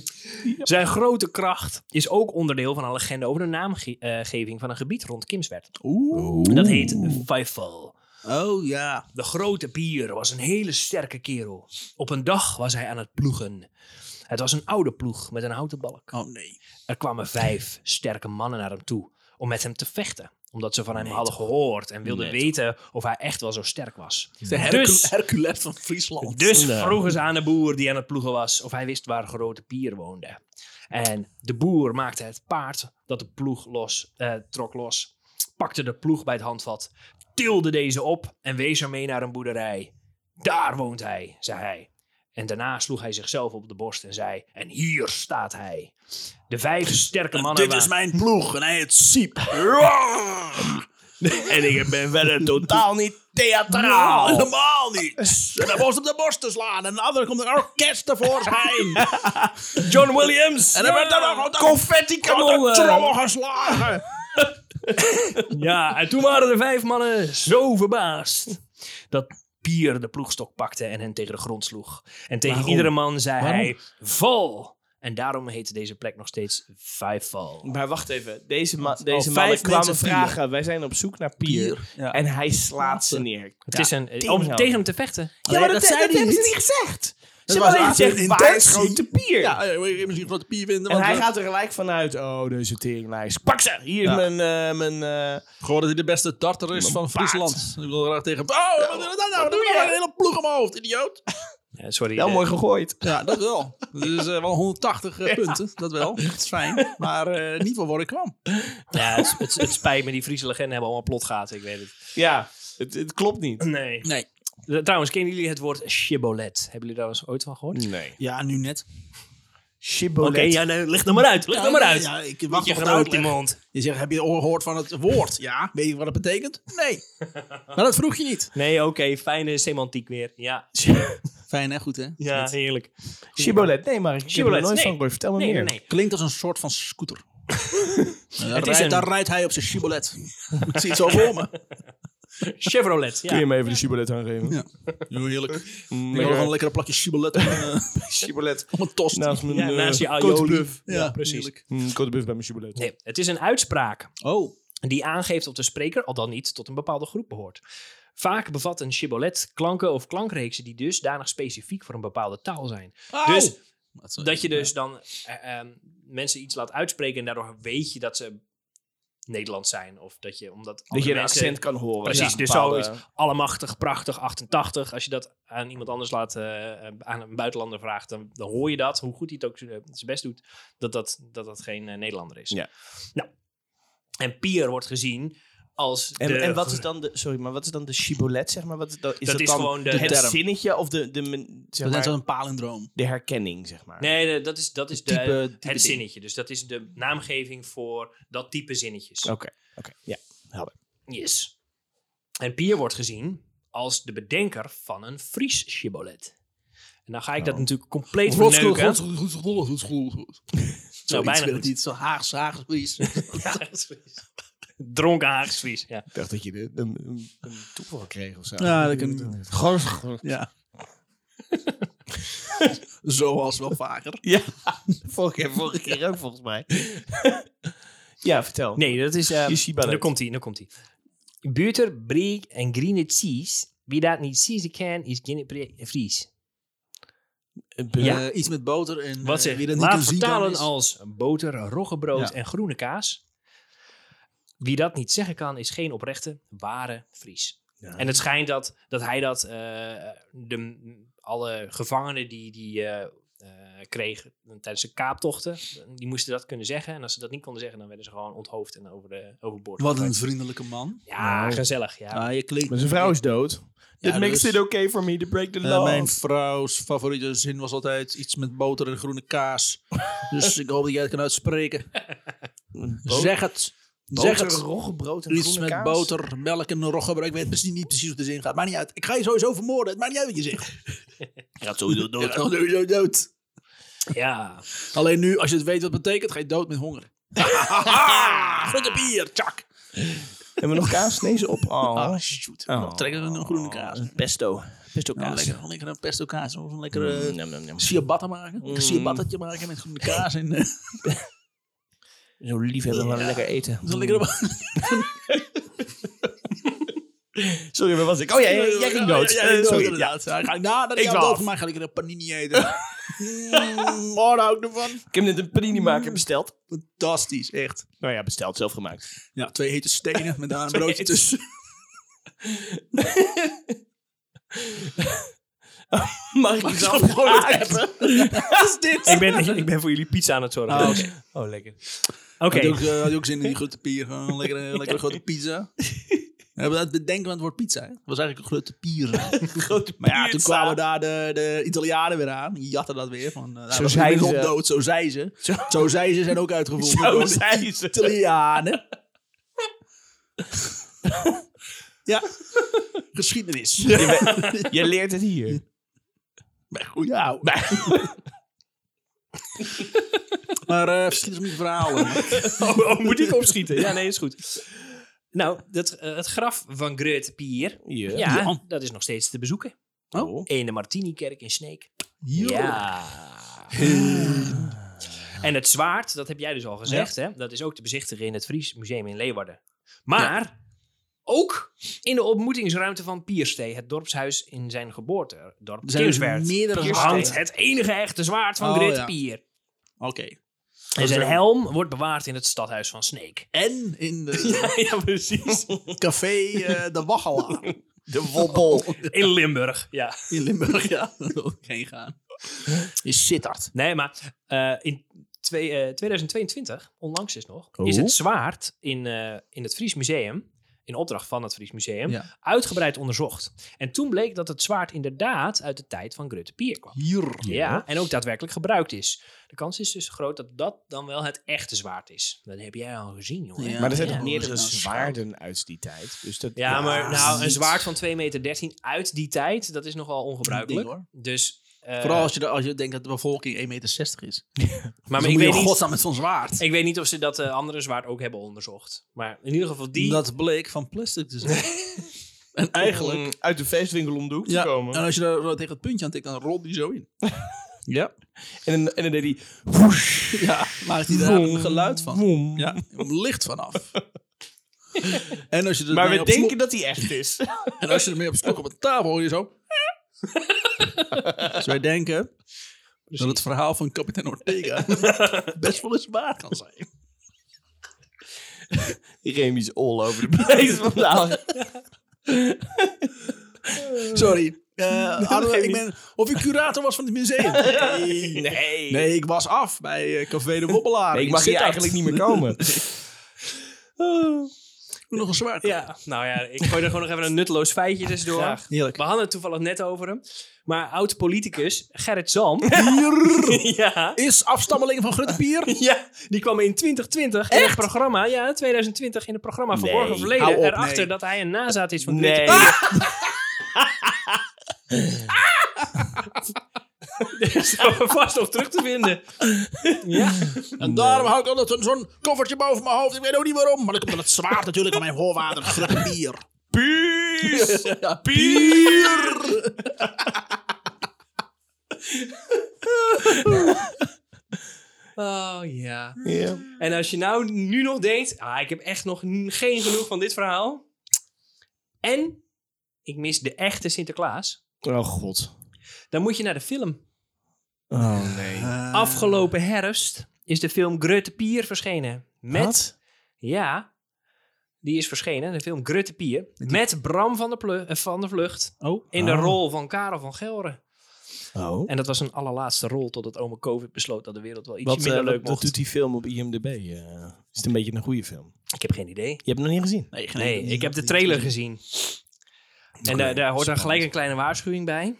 Speaker 2: Zijn grote kracht is ook onderdeel van een legende over de naamgeving van een gebied rond Kimswerd.
Speaker 1: Oeh.
Speaker 2: Dat heet Vijfval.
Speaker 1: Oh ja.
Speaker 2: De grote pier was een hele sterke kerel. Op een dag was hij aan het ploegen. Het was een oude ploeg met een houten balk.
Speaker 1: Oh nee.
Speaker 2: Er kwamen vijf sterke mannen naar hem toe om met hem te vechten. Omdat ze van hem hadden gehoord en wilden weten of hij echt wel zo sterk was.
Speaker 1: De Hercule,
Speaker 2: Dus,
Speaker 1: Hercules van Friesland.
Speaker 2: dus vroegen ze aan de boer die aan het ploegen was of hij wist waar grote pier woonde. En de boer maakte het paard dat de ploeg los, eh, trok los, pakte de ploeg bij het handvat, tilde deze op en wees ermee naar een boerderij. Daar woont hij, zei hij. En daarna sloeg hij zichzelf op de borst en zei: En hier staat hij. De vijf sterke mannen.
Speaker 1: Dit is
Speaker 2: wa-
Speaker 1: mijn ploeg en hij heet Siep.
Speaker 3: En ik ben verder totaal niet
Speaker 1: Nou,
Speaker 3: theatraal.
Speaker 1: helemaal niet. En dan was op de borst te slaan. En de andere komt een orkest tevoorschijn.
Speaker 2: John Williams.
Speaker 1: En dan werd er nog een
Speaker 3: Confetti
Speaker 1: op de
Speaker 3: kanonnen.
Speaker 1: trommel geslagen.
Speaker 2: Ja, en toen waren de vijf mannen zo verbaasd dat Pier de ploegstok pakte en hen tegen de grond sloeg. En tegen iedere man zei hij: Val! En daarom heette deze plek nog steeds Vijfval.
Speaker 3: Maar wacht even. Deze, ma
Speaker 1: al
Speaker 3: deze
Speaker 1: vijf
Speaker 3: mannen kwamen
Speaker 1: mensen vielen.
Speaker 3: vragen. Wij zijn op zoek naar Pier.
Speaker 1: Ja.
Speaker 3: En hij slaat ze neer.
Speaker 2: Het is een, eh,
Speaker 3: ding
Speaker 2: om
Speaker 3: wel.
Speaker 2: tegen hem te vechten.
Speaker 1: Ja, maar dat, zei hij niet.
Speaker 3: gezegd.
Speaker 1: Dat
Speaker 3: Ze
Speaker 1: was
Speaker 3: hebben alleen
Speaker 1: later
Speaker 3: gezegd,
Speaker 1: een
Speaker 3: waar is
Speaker 1: intentie.
Speaker 3: grote Pier?
Speaker 1: Ja, eh, wil je misschien een grote pier vinden.
Speaker 3: En
Speaker 1: want
Speaker 3: hij
Speaker 1: we-
Speaker 3: gaat er gelijk vanuit. Oh, deze teringlijst. Pak ze! Hier
Speaker 1: Ja.
Speaker 3: is mijn... eh, mijn eh,
Speaker 1: Gewoon dat hij de beste darter is van Friesland. Ik wil graag tegen hem. Oh, wat doe je dat nou? doe je een hele ploeg om mijn hoofd, idioot.
Speaker 2: Ja, sorry.
Speaker 3: wel
Speaker 2: eh,
Speaker 3: mooi gegooid.
Speaker 1: Ja, dat wel. Dat is eh, wel 180 eh, punten, dat wel. Dat is fijn. Maar eh, niet van waar ik kwam.
Speaker 2: ja, het, het, het spijt me, die Friese legenden hebben allemaal plotgaten, ik weet het.
Speaker 3: Ja, het, het klopt niet.
Speaker 2: Nee.
Speaker 1: Nee.
Speaker 2: Trouwens, kennen jullie het woord shibboleth? Hebben jullie daar eens ooit van gehoord?
Speaker 3: Nee.
Speaker 1: Ja, nu net.
Speaker 3: Shibboleth.
Speaker 2: Oké, ja, nee, leg er maar uit. Leg er maar uit.
Speaker 1: Ja, ik wacht
Speaker 2: je
Speaker 1: op de
Speaker 2: groot in
Speaker 1: uitleg.
Speaker 2: mond.
Speaker 1: Je zegt, heb je gehoord van het woord? Ja. Weet je wat het betekent? Nee. Maar dat vroeg je niet.
Speaker 2: Nee, oké, fijne semantiek weer. Ja,
Speaker 1: Fijn, hè? Goed, hè?
Speaker 2: ja heerlijk.
Speaker 3: Shibboleth. Nee, maar ik heb er
Speaker 2: Shibboleth,
Speaker 3: nooit
Speaker 2: nee.
Speaker 3: van gehoord. Vertel me
Speaker 2: Nee, nee,
Speaker 3: meer.
Speaker 2: nee.
Speaker 1: Klinkt als een soort van scooter. daar,
Speaker 2: is
Speaker 1: rijdt,
Speaker 2: een-
Speaker 1: daar rijdt hij op zijn shibboleth. Ik zie het zo voor me.
Speaker 2: Chevrolet. Ja.
Speaker 3: Kun je me even de Chevrolet aangeven?
Speaker 1: Ja. Heel heerlijk. Ik wil gewoon een lekkere plakje chibolet om, eh,
Speaker 3: Chevrolet.
Speaker 1: om een tost.
Speaker 3: Naast mijn
Speaker 2: Ja,
Speaker 3: eh,
Speaker 2: naast je aioli.
Speaker 3: kotenbuf.
Speaker 2: Ja, precies.
Speaker 1: heerlijk.
Speaker 3: Mm, Kotenbuf bij mijn Chevrolet.
Speaker 2: Nee, het is een uitspraak
Speaker 1: Oh,
Speaker 2: die aangeeft of de spreker al dan niet tot een bepaalde groep behoort. Vaak bevat een shibboleth klanken of klankreeksen die dusdanig specifiek voor een bepaalde taal zijn. Dus dat je dus dan eh, ehm, mensen iets laat uitspreken en daardoor weet je dat ze Nederlands zijn. Of dat je, omdat
Speaker 3: Dat
Speaker 2: andere
Speaker 3: je een
Speaker 2: mensen-
Speaker 3: accent kan horen.
Speaker 2: Precies,
Speaker 3: Ja,
Speaker 2: dus
Speaker 3: bepaalde-
Speaker 2: zoiets. Allemachtig, prachtig, 88. Als je dat aan iemand anders laat, eh, eh, aan een buitenlander vraagt, dan, dan hoor je dat, hoe goed hij het ook z- eh, zijn best doet, dat dat, dat, dat geen eh, Nederlander is.
Speaker 3: Ja.
Speaker 2: Nou, en Pier wordt gezien als. de,
Speaker 3: En, en wat is dan de, sorry, maar wat is dan de shibboleth, zeg maar? Wat, is dat is,
Speaker 2: Dat
Speaker 3: dat
Speaker 2: is
Speaker 3: dan
Speaker 2: gewoon de
Speaker 3: het
Speaker 1: term.
Speaker 3: zinnetje of de, de, men- zeg
Speaker 1: Dat is net
Speaker 3: maar,
Speaker 1: zo'n palindroom.
Speaker 3: de herkenning, zeg maar.
Speaker 2: Nee, de- dat is, dat is de,
Speaker 1: Type- type ding.
Speaker 2: het zinnetje. Dus dat is de naamgeving voor dat type zinnetjes.
Speaker 3: Oké, oké. Ja, helder.
Speaker 2: Yes. En Pier wordt gezien als de bedenker van een Fries shibboleth. En dan ga ik dat
Speaker 3: Oh.
Speaker 2: natuurlijk compleet
Speaker 1: Rotschool,
Speaker 2: verneuken.
Speaker 1: rotschool, rotschool, rotschool.
Speaker 2: Nou,
Speaker 1: Zoiets
Speaker 2: bijna
Speaker 1: wil
Speaker 2: goed.
Speaker 1: het niet. Zo Haags, Haags, please.
Speaker 2: Dronken Haagse Fries, ja.
Speaker 3: Ik dacht dat je de, een, een, een toeval kreeg of zo.
Speaker 1: Ja, dat kan-
Speaker 3: Gewoon-
Speaker 1: Ja. Zoals wel vaker.
Speaker 3: Ja, vorige keer, vorige keer ook volgens mij. ja, vertel.
Speaker 2: Nee, dat is... eh
Speaker 3: Je shibboleth.
Speaker 2: nu komt hij, nu komt hij. Buter, breek en green sees. Wie dat niet zien kan, is geen pre- Fries. Ja.
Speaker 1: Eh, iets met boter en
Speaker 2: Wat
Speaker 1: eh,
Speaker 2: zeg
Speaker 1: wie
Speaker 2: je?
Speaker 1: dat niet kan
Speaker 2: Laat
Speaker 1: zien
Speaker 2: vertalen
Speaker 1: kan is-
Speaker 2: als boter, roggebrood
Speaker 1: Ja.
Speaker 2: en groene kaas. Wie dat niet zeggen kan, is geen oprechte, ware Fries.
Speaker 3: Ja.
Speaker 2: En het schijnt dat, dat hij dat... eh, de, alle gevangenen die... die eh, eh, kregen tijdens de kaaptochten. Die moesten dat kunnen zeggen. En als ze dat niet konden zeggen, dan werden ze gewoon onthoofd en over de, overboord.
Speaker 1: Wat een
Speaker 2: gegooid.
Speaker 1: vriendelijke man.
Speaker 2: Ja, gezellig. Ja.
Speaker 1: Ah, je klinkt...
Speaker 3: Maar zijn vrouw is dood. That makes
Speaker 1: dus-
Speaker 3: it okay for me to break the
Speaker 1: Eh,
Speaker 3: law.
Speaker 1: mijn vrouw's favoriete zin was altijd iets met boter en groene kaas. dus ik hoop dat jij het kan uitspreken. zeg het.
Speaker 3: Boter,
Speaker 1: Zeg het.
Speaker 3: roggebrood en
Speaker 1: Iets
Speaker 3: groene
Speaker 1: met
Speaker 3: kaas.
Speaker 1: boter, melk en roggebrood. Ik weet precies niet precies hoe de zin gaat. Maakt niet uit. Ik ga je sowieso vermoorden. Het maakt niet uit wat je zegt.
Speaker 3: Je gaat sowieso dood.
Speaker 1: Ja, sowieso dood.
Speaker 2: Ja,
Speaker 1: Alleen nu, als je het weet wat het betekent, ga je dood met honger. Grote bier, tjak.
Speaker 3: Hebben we nog kaas? Nee, ze op. Oh,
Speaker 1: Ah, shoot.
Speaker 3: Oh. Eh,
Speaker 1: Dan trekken we een groene kaas.
Speaker 3: pesto. Pesto
Speaker 1: Ja,
Speaker 3: kaas. eh,
Speaker 1: lekker, Mm, lekker een pesto kaas. Of een lekkere
Speaker 3: Nom, nom, nom.
Speaker 1: ciabatta maken.
Speaker 3: Mm.
Speaker 1: Een ciabattetje maken met groene kaas. En, eh,
Speaker 3: Zo lief hebben we lekker eten.
Speaker 1: zo'n lekkere...
Speaker 3: Sorry, waar was ik? Oh ja, ja, jij ging dood.
Speaker 1: Ja, ja, ja,
Speaker 3: Eh, sorry. Ja.
Speaker 1: inderdaad. Nou, Ja, ga ik nadat ik
Speaker 3: Ik
Speaker 1: jou
Speaker 3: dwaal
Speaker 1: dood
Speaker 3: af.
Speaker 1: gemaakt ga ik er een panini eten. Mm, oh, daar hou ik ervan.
Speaker 3: Ik heb net een panini maken besteld.
Speaker 1: Fantastisch, echt.
Speaker 3: Nou ja, besteld, zelf gemaakt.
Speaker 1: Ja, twee hete stenen met daar een broodje
Speaker 3: hete-
Speaker 1: tussen.
Speaker 3: Mag ik het gewoon hebben?
Speaker 1: Wat is dit?
Speaker 2: ik ben, ik ben voor jullie pizza aan het zorgen.
Speaker 1: Ah,
Speaker 3: Oh, lekker.
Speaker 2: Oké,
Speaker 1: Had, je ook, eh, had je ook zin in die grote pier. Gewoon een lekkere, lekkere grote pizza. We hebben dat bedenken van het woord pizza. hè. Het was eigenlijk een grote pier.
Speaker 3: Grote
Speaker 1: Maar ja, toen kwamen daar de, de Italianen weer aan. Die jatten dat weer. Van, eh, daar was
Speaker 3: zei
Speaker 1: iemand
Speaker 3: ze.
Speaker 1: op dood, zo zei ze. Zo, zei ze zijn ook uitgevonden.
Speaker 3: Zo
Speaker 1: door
Speaker 3: zei ze.
Speaker 1: Italianen. ja. Geschiedenis.
Speaker 3: Je leert het hier.
Speaker 1: Bij goede ouwe. maar eh verschiet ons niet verhalen.
Speaker 2: oh, moet ik opschieten? Ja, nee, is goed. Nou, dat, eh, het graf van Greut Pier,
Speaker 3: Ja.
Speaker 2: ja,
Speaker 1: Ja.
Speaker 2: dat is nog steeds te bezoeken.
Speaker 1: Oh.
Speaker 2: In de Martini-kerk in Sneek.
Speaker 1: Jo.
Speaker 2: Ja.
Speaker 1: Eh,
Speaker 2: En het zwaard, dat heb jij dus al gezegd, hè? dat is ook te bezichtigen in het Fries Museum in Leeuwarden. Maar ook in de ontmoetingsruimte van Pierstee, het dorpshuis in zijn geboortedorp
Speaker 1: Er zijn dus
Speaker 2: Kirswerd.
Speaker 1: meerdere
Speaker 2: Hier
Speaker 1: zwaarden.
Speaker 2: hangt het enige echte zwaard van
Speaker 1: Oh,
Speaker 2: Grit
Speaker 1: ja.
Speaker 2: Pier.
Speaker 1: Oké.
Speaker 2: En zijn helm wordt bewaard in het stadhuis van Sneek.
Speaker 1: En in de
Speaker 2: ja, precies.
Speaker 1: café eh, De Waggela
Speaker 3: De wobbel.
Speaker 2: In Limburg, ja.
Speaker 1: in Limburg. Ja, daar wil ik heen gaan. In Sittard.
Speaker 2: Nee, maar eh, in twee, eh, 2022, onlangs is nog,
Speaker 3: Oh.
Speaker 2: is het zwaard in, eh, in het Fries Museum, in opdracht van het Fries Museum,
Speaker 1: Ja.
Speaker 2: uitgebreid onderzocht. En toen bleek dat het zwaard inderdaad uit de tijd van Grutte Pier kwam.
Speaker 1: Hier.
Speaker 2: Ja. en ook daadwerkelijk gebruikt is. De kans is dus groot dat dat dan wel het echte zwaard is. Dat heb jij al gezien, jongen.
Speaker 1: Ja.
Speaker 2: Ja,
Speaker 3: Maar er zijn
Speaker 1: Ja.
Speaker 3: toch meerdere
Speaker 1: Ja.
Speaker 3: zwaarden uit die tijd. Dus dat,
Speaker 2: maar nou, een
Speaker 1: niet.
Speaker 2: zwaard van 2,13 meter uit die tijd, dat is nogal ongebruikelijk.
Speaker 1: Ding,
Speaker 2: dus, eh,
Speaker 1: Vooral als je, de- als je denkt dat de bevolking 1,60 meter is.
Speaker 2: maar,
Speaker 1: Maar
Speaker 2: ik
Speaker 1: moet
Speaker 2: weet
Speaker 1: je in
Speaker 2: niet...
Speaker 1: godsnaam met zo'n zwaard.
Speaker 2: Ik weet niet of ze dat eh, andere zwaard ook hebben onderzocht. Maar in ieder geval die...
Speaker 1: Dat bleek van plastic te zijn. En eigenlijk...
Speaker 3: om uit de feestwinkel om de hoek
Speaker 1: ja,
Speaker 3: te komen.
Speaker 1: en als je daar zo tegen het puntje aan tikt, dan rolt die zo in. ja.
Speaker 3: En, dan- en dan deed hij...
Speaker 1: Ja, maakt hij daar een geluid van.
Speaker 3: Woem.
Speaker 1: Ja, een licht vanaf. en als je er
Speaker 3: Maar
Speaker 1: mee
Speaker 3: we
Speaker 1: op
Speaker 3: denken dus.
Speaker 1: slok-
Speaker 3: dat hij echt is.
Speaker 1: en als je ermee op slok op een tafel hoor je zo. dus wij denken dat het verhaal van kapitein Ortega best wel eens waar kan zijn.
Speaker 3: Remy is all over the place vandaag.
Speaker 1: Sorry. Eh, Arno,
Speaker 3: geeft
Speaker 1: ik
Speaker 3: niet.
Speaker 1: ben, of ik curator was van het museum. Nee.
Speaker 3: Nee.
Speaker 1: Nee, ik was af bij eh, Café de Wobbelaar.
Speaker 3: Nee, ik mag
Speaker 1: zit
Speaker 3: hier eigenlijk niet meer komen.
Speaker 1: Nog een zwaard.
Speaker 2: Ja, nou ja, ik gooi er gewoon nog even een nutteloos feitje tussendoor.
Speaker 3: Graag.
Speaker 1: Heerlijk.
Speaker 2: We hadden het toevallig net over hem. Maar oud-politicus Gerrit Zalm. ja.
Speaker 1: Is afstammeling van Grutpier.
Speaker 2: Ja, die kwam in 2020 in het programma. Ja, 2020 in het programma Verborgen
Speaker 1: hou
Speaker 2: Verleden.
Speaker 1: op,
Speaker 2: erachter
Speaker 1: nee.
Speaker 2: dat hij een nazaat is van
Speaker 3: Nee.
Speaker 2: Grutje. Dus daar zijn we vast nog terug te vinden. Ja.
Speaker 1: En daarom hou ik altijd een- zo'n koffertje boven mijn hoofd. Ik weet ook niet waarom. Maar dat komt door het zwaard natuurlijk van mijn voorwaarder Grutpier.
Speaker 3: Peace.
Speaker 2: Oh ja.
Speaker 3: Ja.
Speaker 2: En als je nou nu nog denkt, ah, ik heb echt nog n- geen genoeg van dit verhaal. En ik mis de echte Sinterklaas.
Speaker 3: Oh god.
Speaker 2: Dan moet je naar de film.
Speaker 3: Oh nee.
Speaker 2: Afgelopen herfst is de film Grutte Pier verschenen. Met,
Speaker 3: Wat?
Speaker 2: ja, die is verschenen, de film Grutte Pier. Met Bram van der, Plu- eh, van der Vlucht
Speaker 1: Oh.
Speaker 2: in de
Speaker 3: Oh.
Speaker 2: rol van Karel van Gelre.
Speaker 3: Oh.
Speaker 2: En dat was een allerlaatste rol totdat ome COVID besloot dat de wereld wel iets
Speaker 3: Wat,
Speaker 2: minder
Speaker 3: eh, wat-
Speaker 2: leuk
Speaker 3: wat
Speaker 2: mocht.
Speaker 3: doet die film op IMDb? eh? is het een beetje een goede film?
Speaker 2: Ik heb geen idee.
Speaker 3: Je hebt hem nog niet gezien?
Speaker 1: Nee, geen
Speaker 2: Nee,
Speaker 1: idee.
Speaker 2: ik heb de trailer gezien. En eh, daar, daar
Speaker 1: dus
Speaker 2: hoort dan
Speaker 3: spannend.
Speaker 2: gelijk een kleine waarschuwing bij.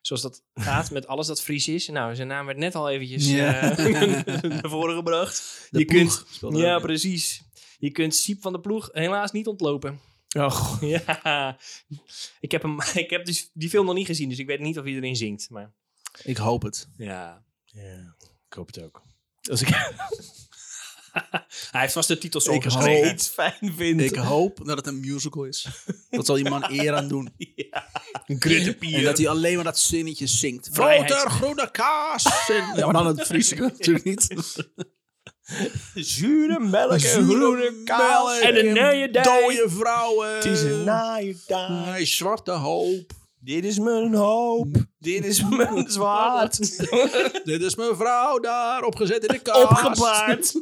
Speaker 2: Zoals dat gaat met alles dat Fries is. Nou, zijn naam werd net al eventjes
Speaker 1: Ja.
Speaker 2: eh, naar voren gebracht.
Speaker 1: De
Speaker 2: je
Speaker 1: ploeg
Speaker 2: kunt,
Speaker 1: speelde
Speaker 2: ja,
Speaker 1: ook.
Speaker 2: precies. Je kunt Siep van de ploeg helaas niet ontlopen.
Speaker 3: Oh,
Speaker 2: Ja, ik heb, hem, ik heb die, die film nog niet gezien, dus ik weet niet of iedereen zingt. Maar
Speaker 1: Ik hoop het.
Speaker 2: ja,
Speaker 3: ja. Ik hoop het ook. Als ik
Speaker 2: hij heeft vast de titel zo
Speaker 1: Ik
Speaker 2: geschreven.
Speaker 1: hoop.
Speaker 3: iets fijn vind.
Speaker 1: Ik hoop dat het een musical is. Dat zal die man eer aan doen.
Speaker 2: Grutte
Speaker 1: En
Speaker 2: Pier.
Speaker 1: dat hij alleen maar dat zinnetje zingt.
Speaker 2: Vrijheid.
Speaker 1: Boter, groene kaas. en- Ja, maar dan het Friese natuurlijk niet.
Speaker 3: zure melk en
Speaker 1: Zure
Speaker 3: groene kaas.
Speaker 1: melk
Speaker 2: En een nije dij.
Speaker 1: Dode vrouwen.
Speaker 3: Het is een naaie dag.
Speaker 1: Een zwarte hoop.
Speaker 3: Dit is mijn hoop. Dit is mijn zwaard.
Speaker 1: Dit is mijn vrouw daar, opgezet in de kast.
Speaker 3: Opgebaard.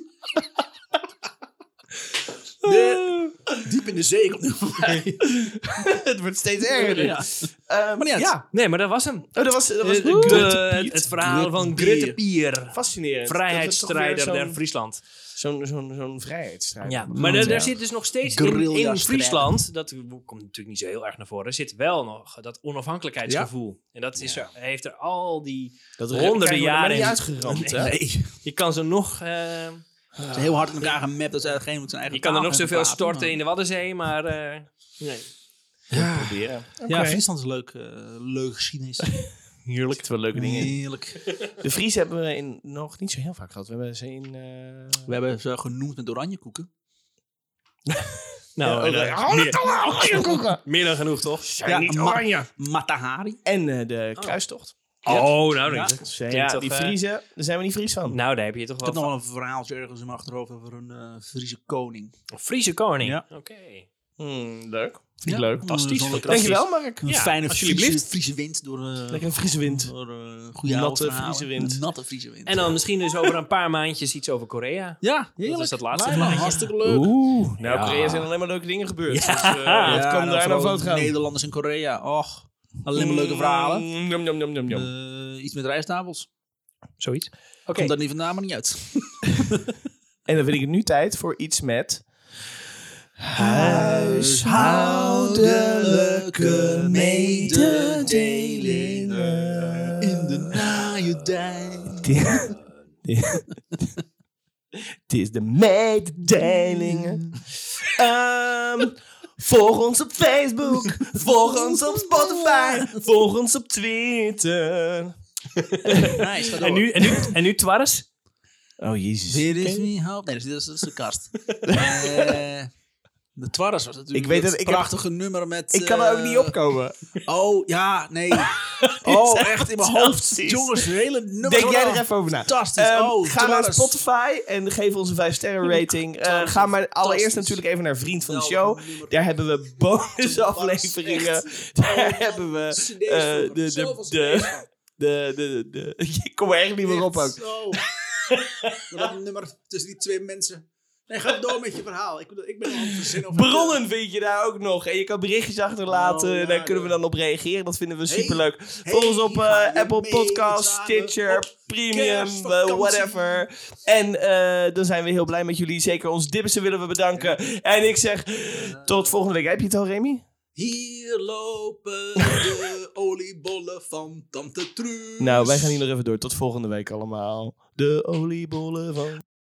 Speaker 1: De- diep in de zee komt nu voorbij.
Speaker 3: het wordt steeds erger.
Speaker 1: Ja.
Speaker 3: Eh,
Speaker 1: Maar niet uit.
Speaker 3: ja.
Speaker 2: Nee, maar dat was hem.
Speaker 3: Oh, dat was, dat was
Speaker 2: Eh,
Speaker 3: Grutte
Speaker 2: de-
Speaker 3: Piet.
Speaker 2: het verhaal van
Speaker 1: Grutte Pier.
Speaker 2: Grutte Pier.
Speaker 3: Fascinerend.
Speaker 2: Vrijheidsstrijder
Speaker 3: Dat is toch weer
Speaker 2: der Friesland.
Speaker 3: Zo'n zo'n zo'n vrijheidsstrijder.
Speaker 2: Ja, maar daar, daar zit dus nog steeds in, in
Speaker 1: Guerrilla-strijder.
Speaker 2: Friesland, dat komt natuurlijk niet zo heel erg naar voren, zit wel nog dat onafhankelijkheidsgevoel. En dat is er, heeft er al die...
Speaker 3: dat
Speaker 2: honderden
Speaker 3: krijgen we er maar
Speaker 2: jaren
Speaker 3: niet
Speaker 2: in-
Speaker 3: uitgeramd. hè?
Speaker 1: Nee. Ze
Speaker 2: Je kan ze nog, eh,
Speaker 1: is heel hard in elkaar gemapt dat ze eigenlijk moet zijn eigen
Speaker 2: je kan er
Speaker 1: taal
Speaker 2: nog
Speaker 1: gaan
Speaker 2: zoveel
Speaker 1: praten,
Speaker 2: storten
Speaker 1: maar-
Speaker 2: in de Waddenzee, maar... eh, nee.
Speaker 3: Proberen.
Speaker 1: Ja, Friesland is leuk, eh, leuk geschiedenis.
Speaker 3: Heerlijk. Het wel leuke dingen. in.
Speaker 1: Heerlijk.
Speaker 3: De Vries hebben we in, nog niet zo heel vaak gehad. We hebben ze in... eh,
Speaker 1: We hebben ze genoemd met oranjekoeken.
Speaker 2: Nou,
Speaker 3: Ja,
Speaker 2: eh,
Speaker 3: oh,
Speaker 2: meer,
Speaker 3: dat allemaal oranje koeken.
Speaker 2: meer dan genoeg, toch?
Speaker 1: Ja,
Speaker 3: niet
Speaker 1: ma-
Speaker 3: oranje.
Speaker 1: Matahari.
Speaker 3: En eh, de kruistocht.
Speaker 2: Oh, nou,
Speaker 1: Ja.
Speaker 2: dat-
Speaker 3: Zijn
Speaker 2: Ja,
Speaker 3: toch, die
Speaker 2: toch, eh,
Speaker 3: Vriezen, daar zijn we niet Fries van.
Speaker 2: nou, daar heb je toch
Speaker 1: Ik heb
Speaker 2: wel
Speaker 1: nog wel een verhaaltje ergens in mijn achterhoofd over een eh, Friese koning.
Speaker 2: een Friese koning.
Speaker 1: Ja.
Speaker 2: Oké.
Speaker 3: Hmm, leuk. Vind ik
Speaker 1: Ja,
Speaker 3: leuk.
Speaker 1: fantastisch.
Speaker 3: Dankjewel, Mark.
Speaker 1: Een
Speaker 2: Ja,
Speaker 1: fijne
Speaker 2: als jullie
Speaker 1: Friese,
Speaker 2: blieft.
Speaker 1: Friese wind door... eh,
Speaker 3: Lekker een Friese wind.
Speaker 1: Door, eh, goede
Speaker 3: Natte
Speaker 1: oude verhalen.
Speaker 3: Friese wind.
Speaker 1: Een Natte Friese wind.
Speaker 2: En dan misschien dus over een paar maandjes iets over Korea.
Speaker 1: ja,
Speaker 2: Dat is dat laatste
Speaker 1: Lijkt me
Speaker 2: plaatje.
Speaker 1: Hartstikke leuk.
Speaker 3: Oeh. Nou,
Speaker 2: Ja.
Speaker 3: Korea zijn alleen maar leuke dingen gebeurd.
Speaker 2: Ja.
Speaker 3: Dus, eh,
Speaker 2: Ja,
Speaker 3: wat
Speaker 1: Ja,
Speaker 3: kan
Speaker 1: en
Speaker 3: daar nou
Speaker 1: vooral
Speaker 3: fout gaan?
Speaker 1: Nederlanders in Korea. Och, alleen maar leuke verhalen.
Speaker 3: Mm, Nom, nom, nom, nom, nom.
Speaker 1: Eh, iets met rijstabels.
Speaker 2: Zoiets. Oké.
Speaker 1: Komt dat niet vandaan, maar niet uit.
Speaker 3: En dan vind ik het nu tijd voor iets met... Huishoudelijke mededelingen.
Speaker 1: in de naaiertijd.
Speaker 3: Dit- dit- Het is de mededelingen. Ehm, volg ons op Facebook. Volg ons op Spotify. Volg ons op Twitter.
Speaker 1: Nice, ga door.
Speaker 2: En nu, en nu, en nu Twarres?
Speaker 3: Oh, jezus.
Speaker 1: Dit is niet hoop. Nee, dat is- dat is de kast. Eh, De Twarras was natuurlijk
Speaker 3: Ik weet
Speaker 1: dat
Speaker 3: het, ik heb-
Speaker 1: prachtige nummer met...
Speaker 3: Ik kan er ook
Speaker 1: eh,
Speaker 3: niet opkomen.
Speaker 1: Oh, ja, nee. oh, echt in mijn hoofd.
Speaker 3: fantastisch.
Speaker 1: Jongens, de hele nummer.
Speaker 3: Denk jij er even over na.
Speaker 1: Fantastisch.
Speaker 3: Ehm,
Speaker 1: oh,
Speaker 3: ga naar
Speaker 1: Twarras.
Speaker 3: Spotify en geef ons een 5-sterren rating. Eh,
Speaker 1: Twarras,
Speaker 3: ga maar
Speaker 1: fantastisch.
Speaker 3: allereerst natuurlijk even naar Vriend van de Show.
Speaker 1: Geweldig nummer.
Speaker 3: Daar hebben we bonusafleveringen. Daar hebben we eh, de, de, de, de, de, de, Ik kom er echt niet meer op ook.
Speaker 1: Zo. dat nummer tussen die twee mensen. Nee, ga door met je verhaal. Ik, bedoel, ik ben al aan het verzinnen over...
Speaker 3: Bronnen vind je daar ook nog. En je kan berichtjes achterlaten.
Speaker 1: Oh, ja,
Speaker 3: daar kunnen we
Speaker 1: ja.
Speaker 3: dan op reageren. Dat vinden we
Speaker 1: Hey,
Speaker 3: superleuk.
Speaker 1: hey,
Speaker 3: Volg ons op eh,
Speaker 1: ga je
Speaker 3: Apple
Speaker 1: mee
Speaker 3: Podcasts,
Speaker 1: samen
Speaker 3: Stitcher,
Speaker 1: op
Speaker 3: Premium, eh,
Speaker 1: kerstvakantie?
Speaker 3: whatever. En eh, dan zijn we heel blij met jullie. Zeker ons dibbissen willen we bedanken. En ik zeg tot volgende week. Heb je het al, Remy?
Speaker 1: Hier lopen de oliebollen van Tante Truus.
Speaker 3: Nou, wij gaan hier nog even door. Tot volgende week allemaal. De oliebollen van...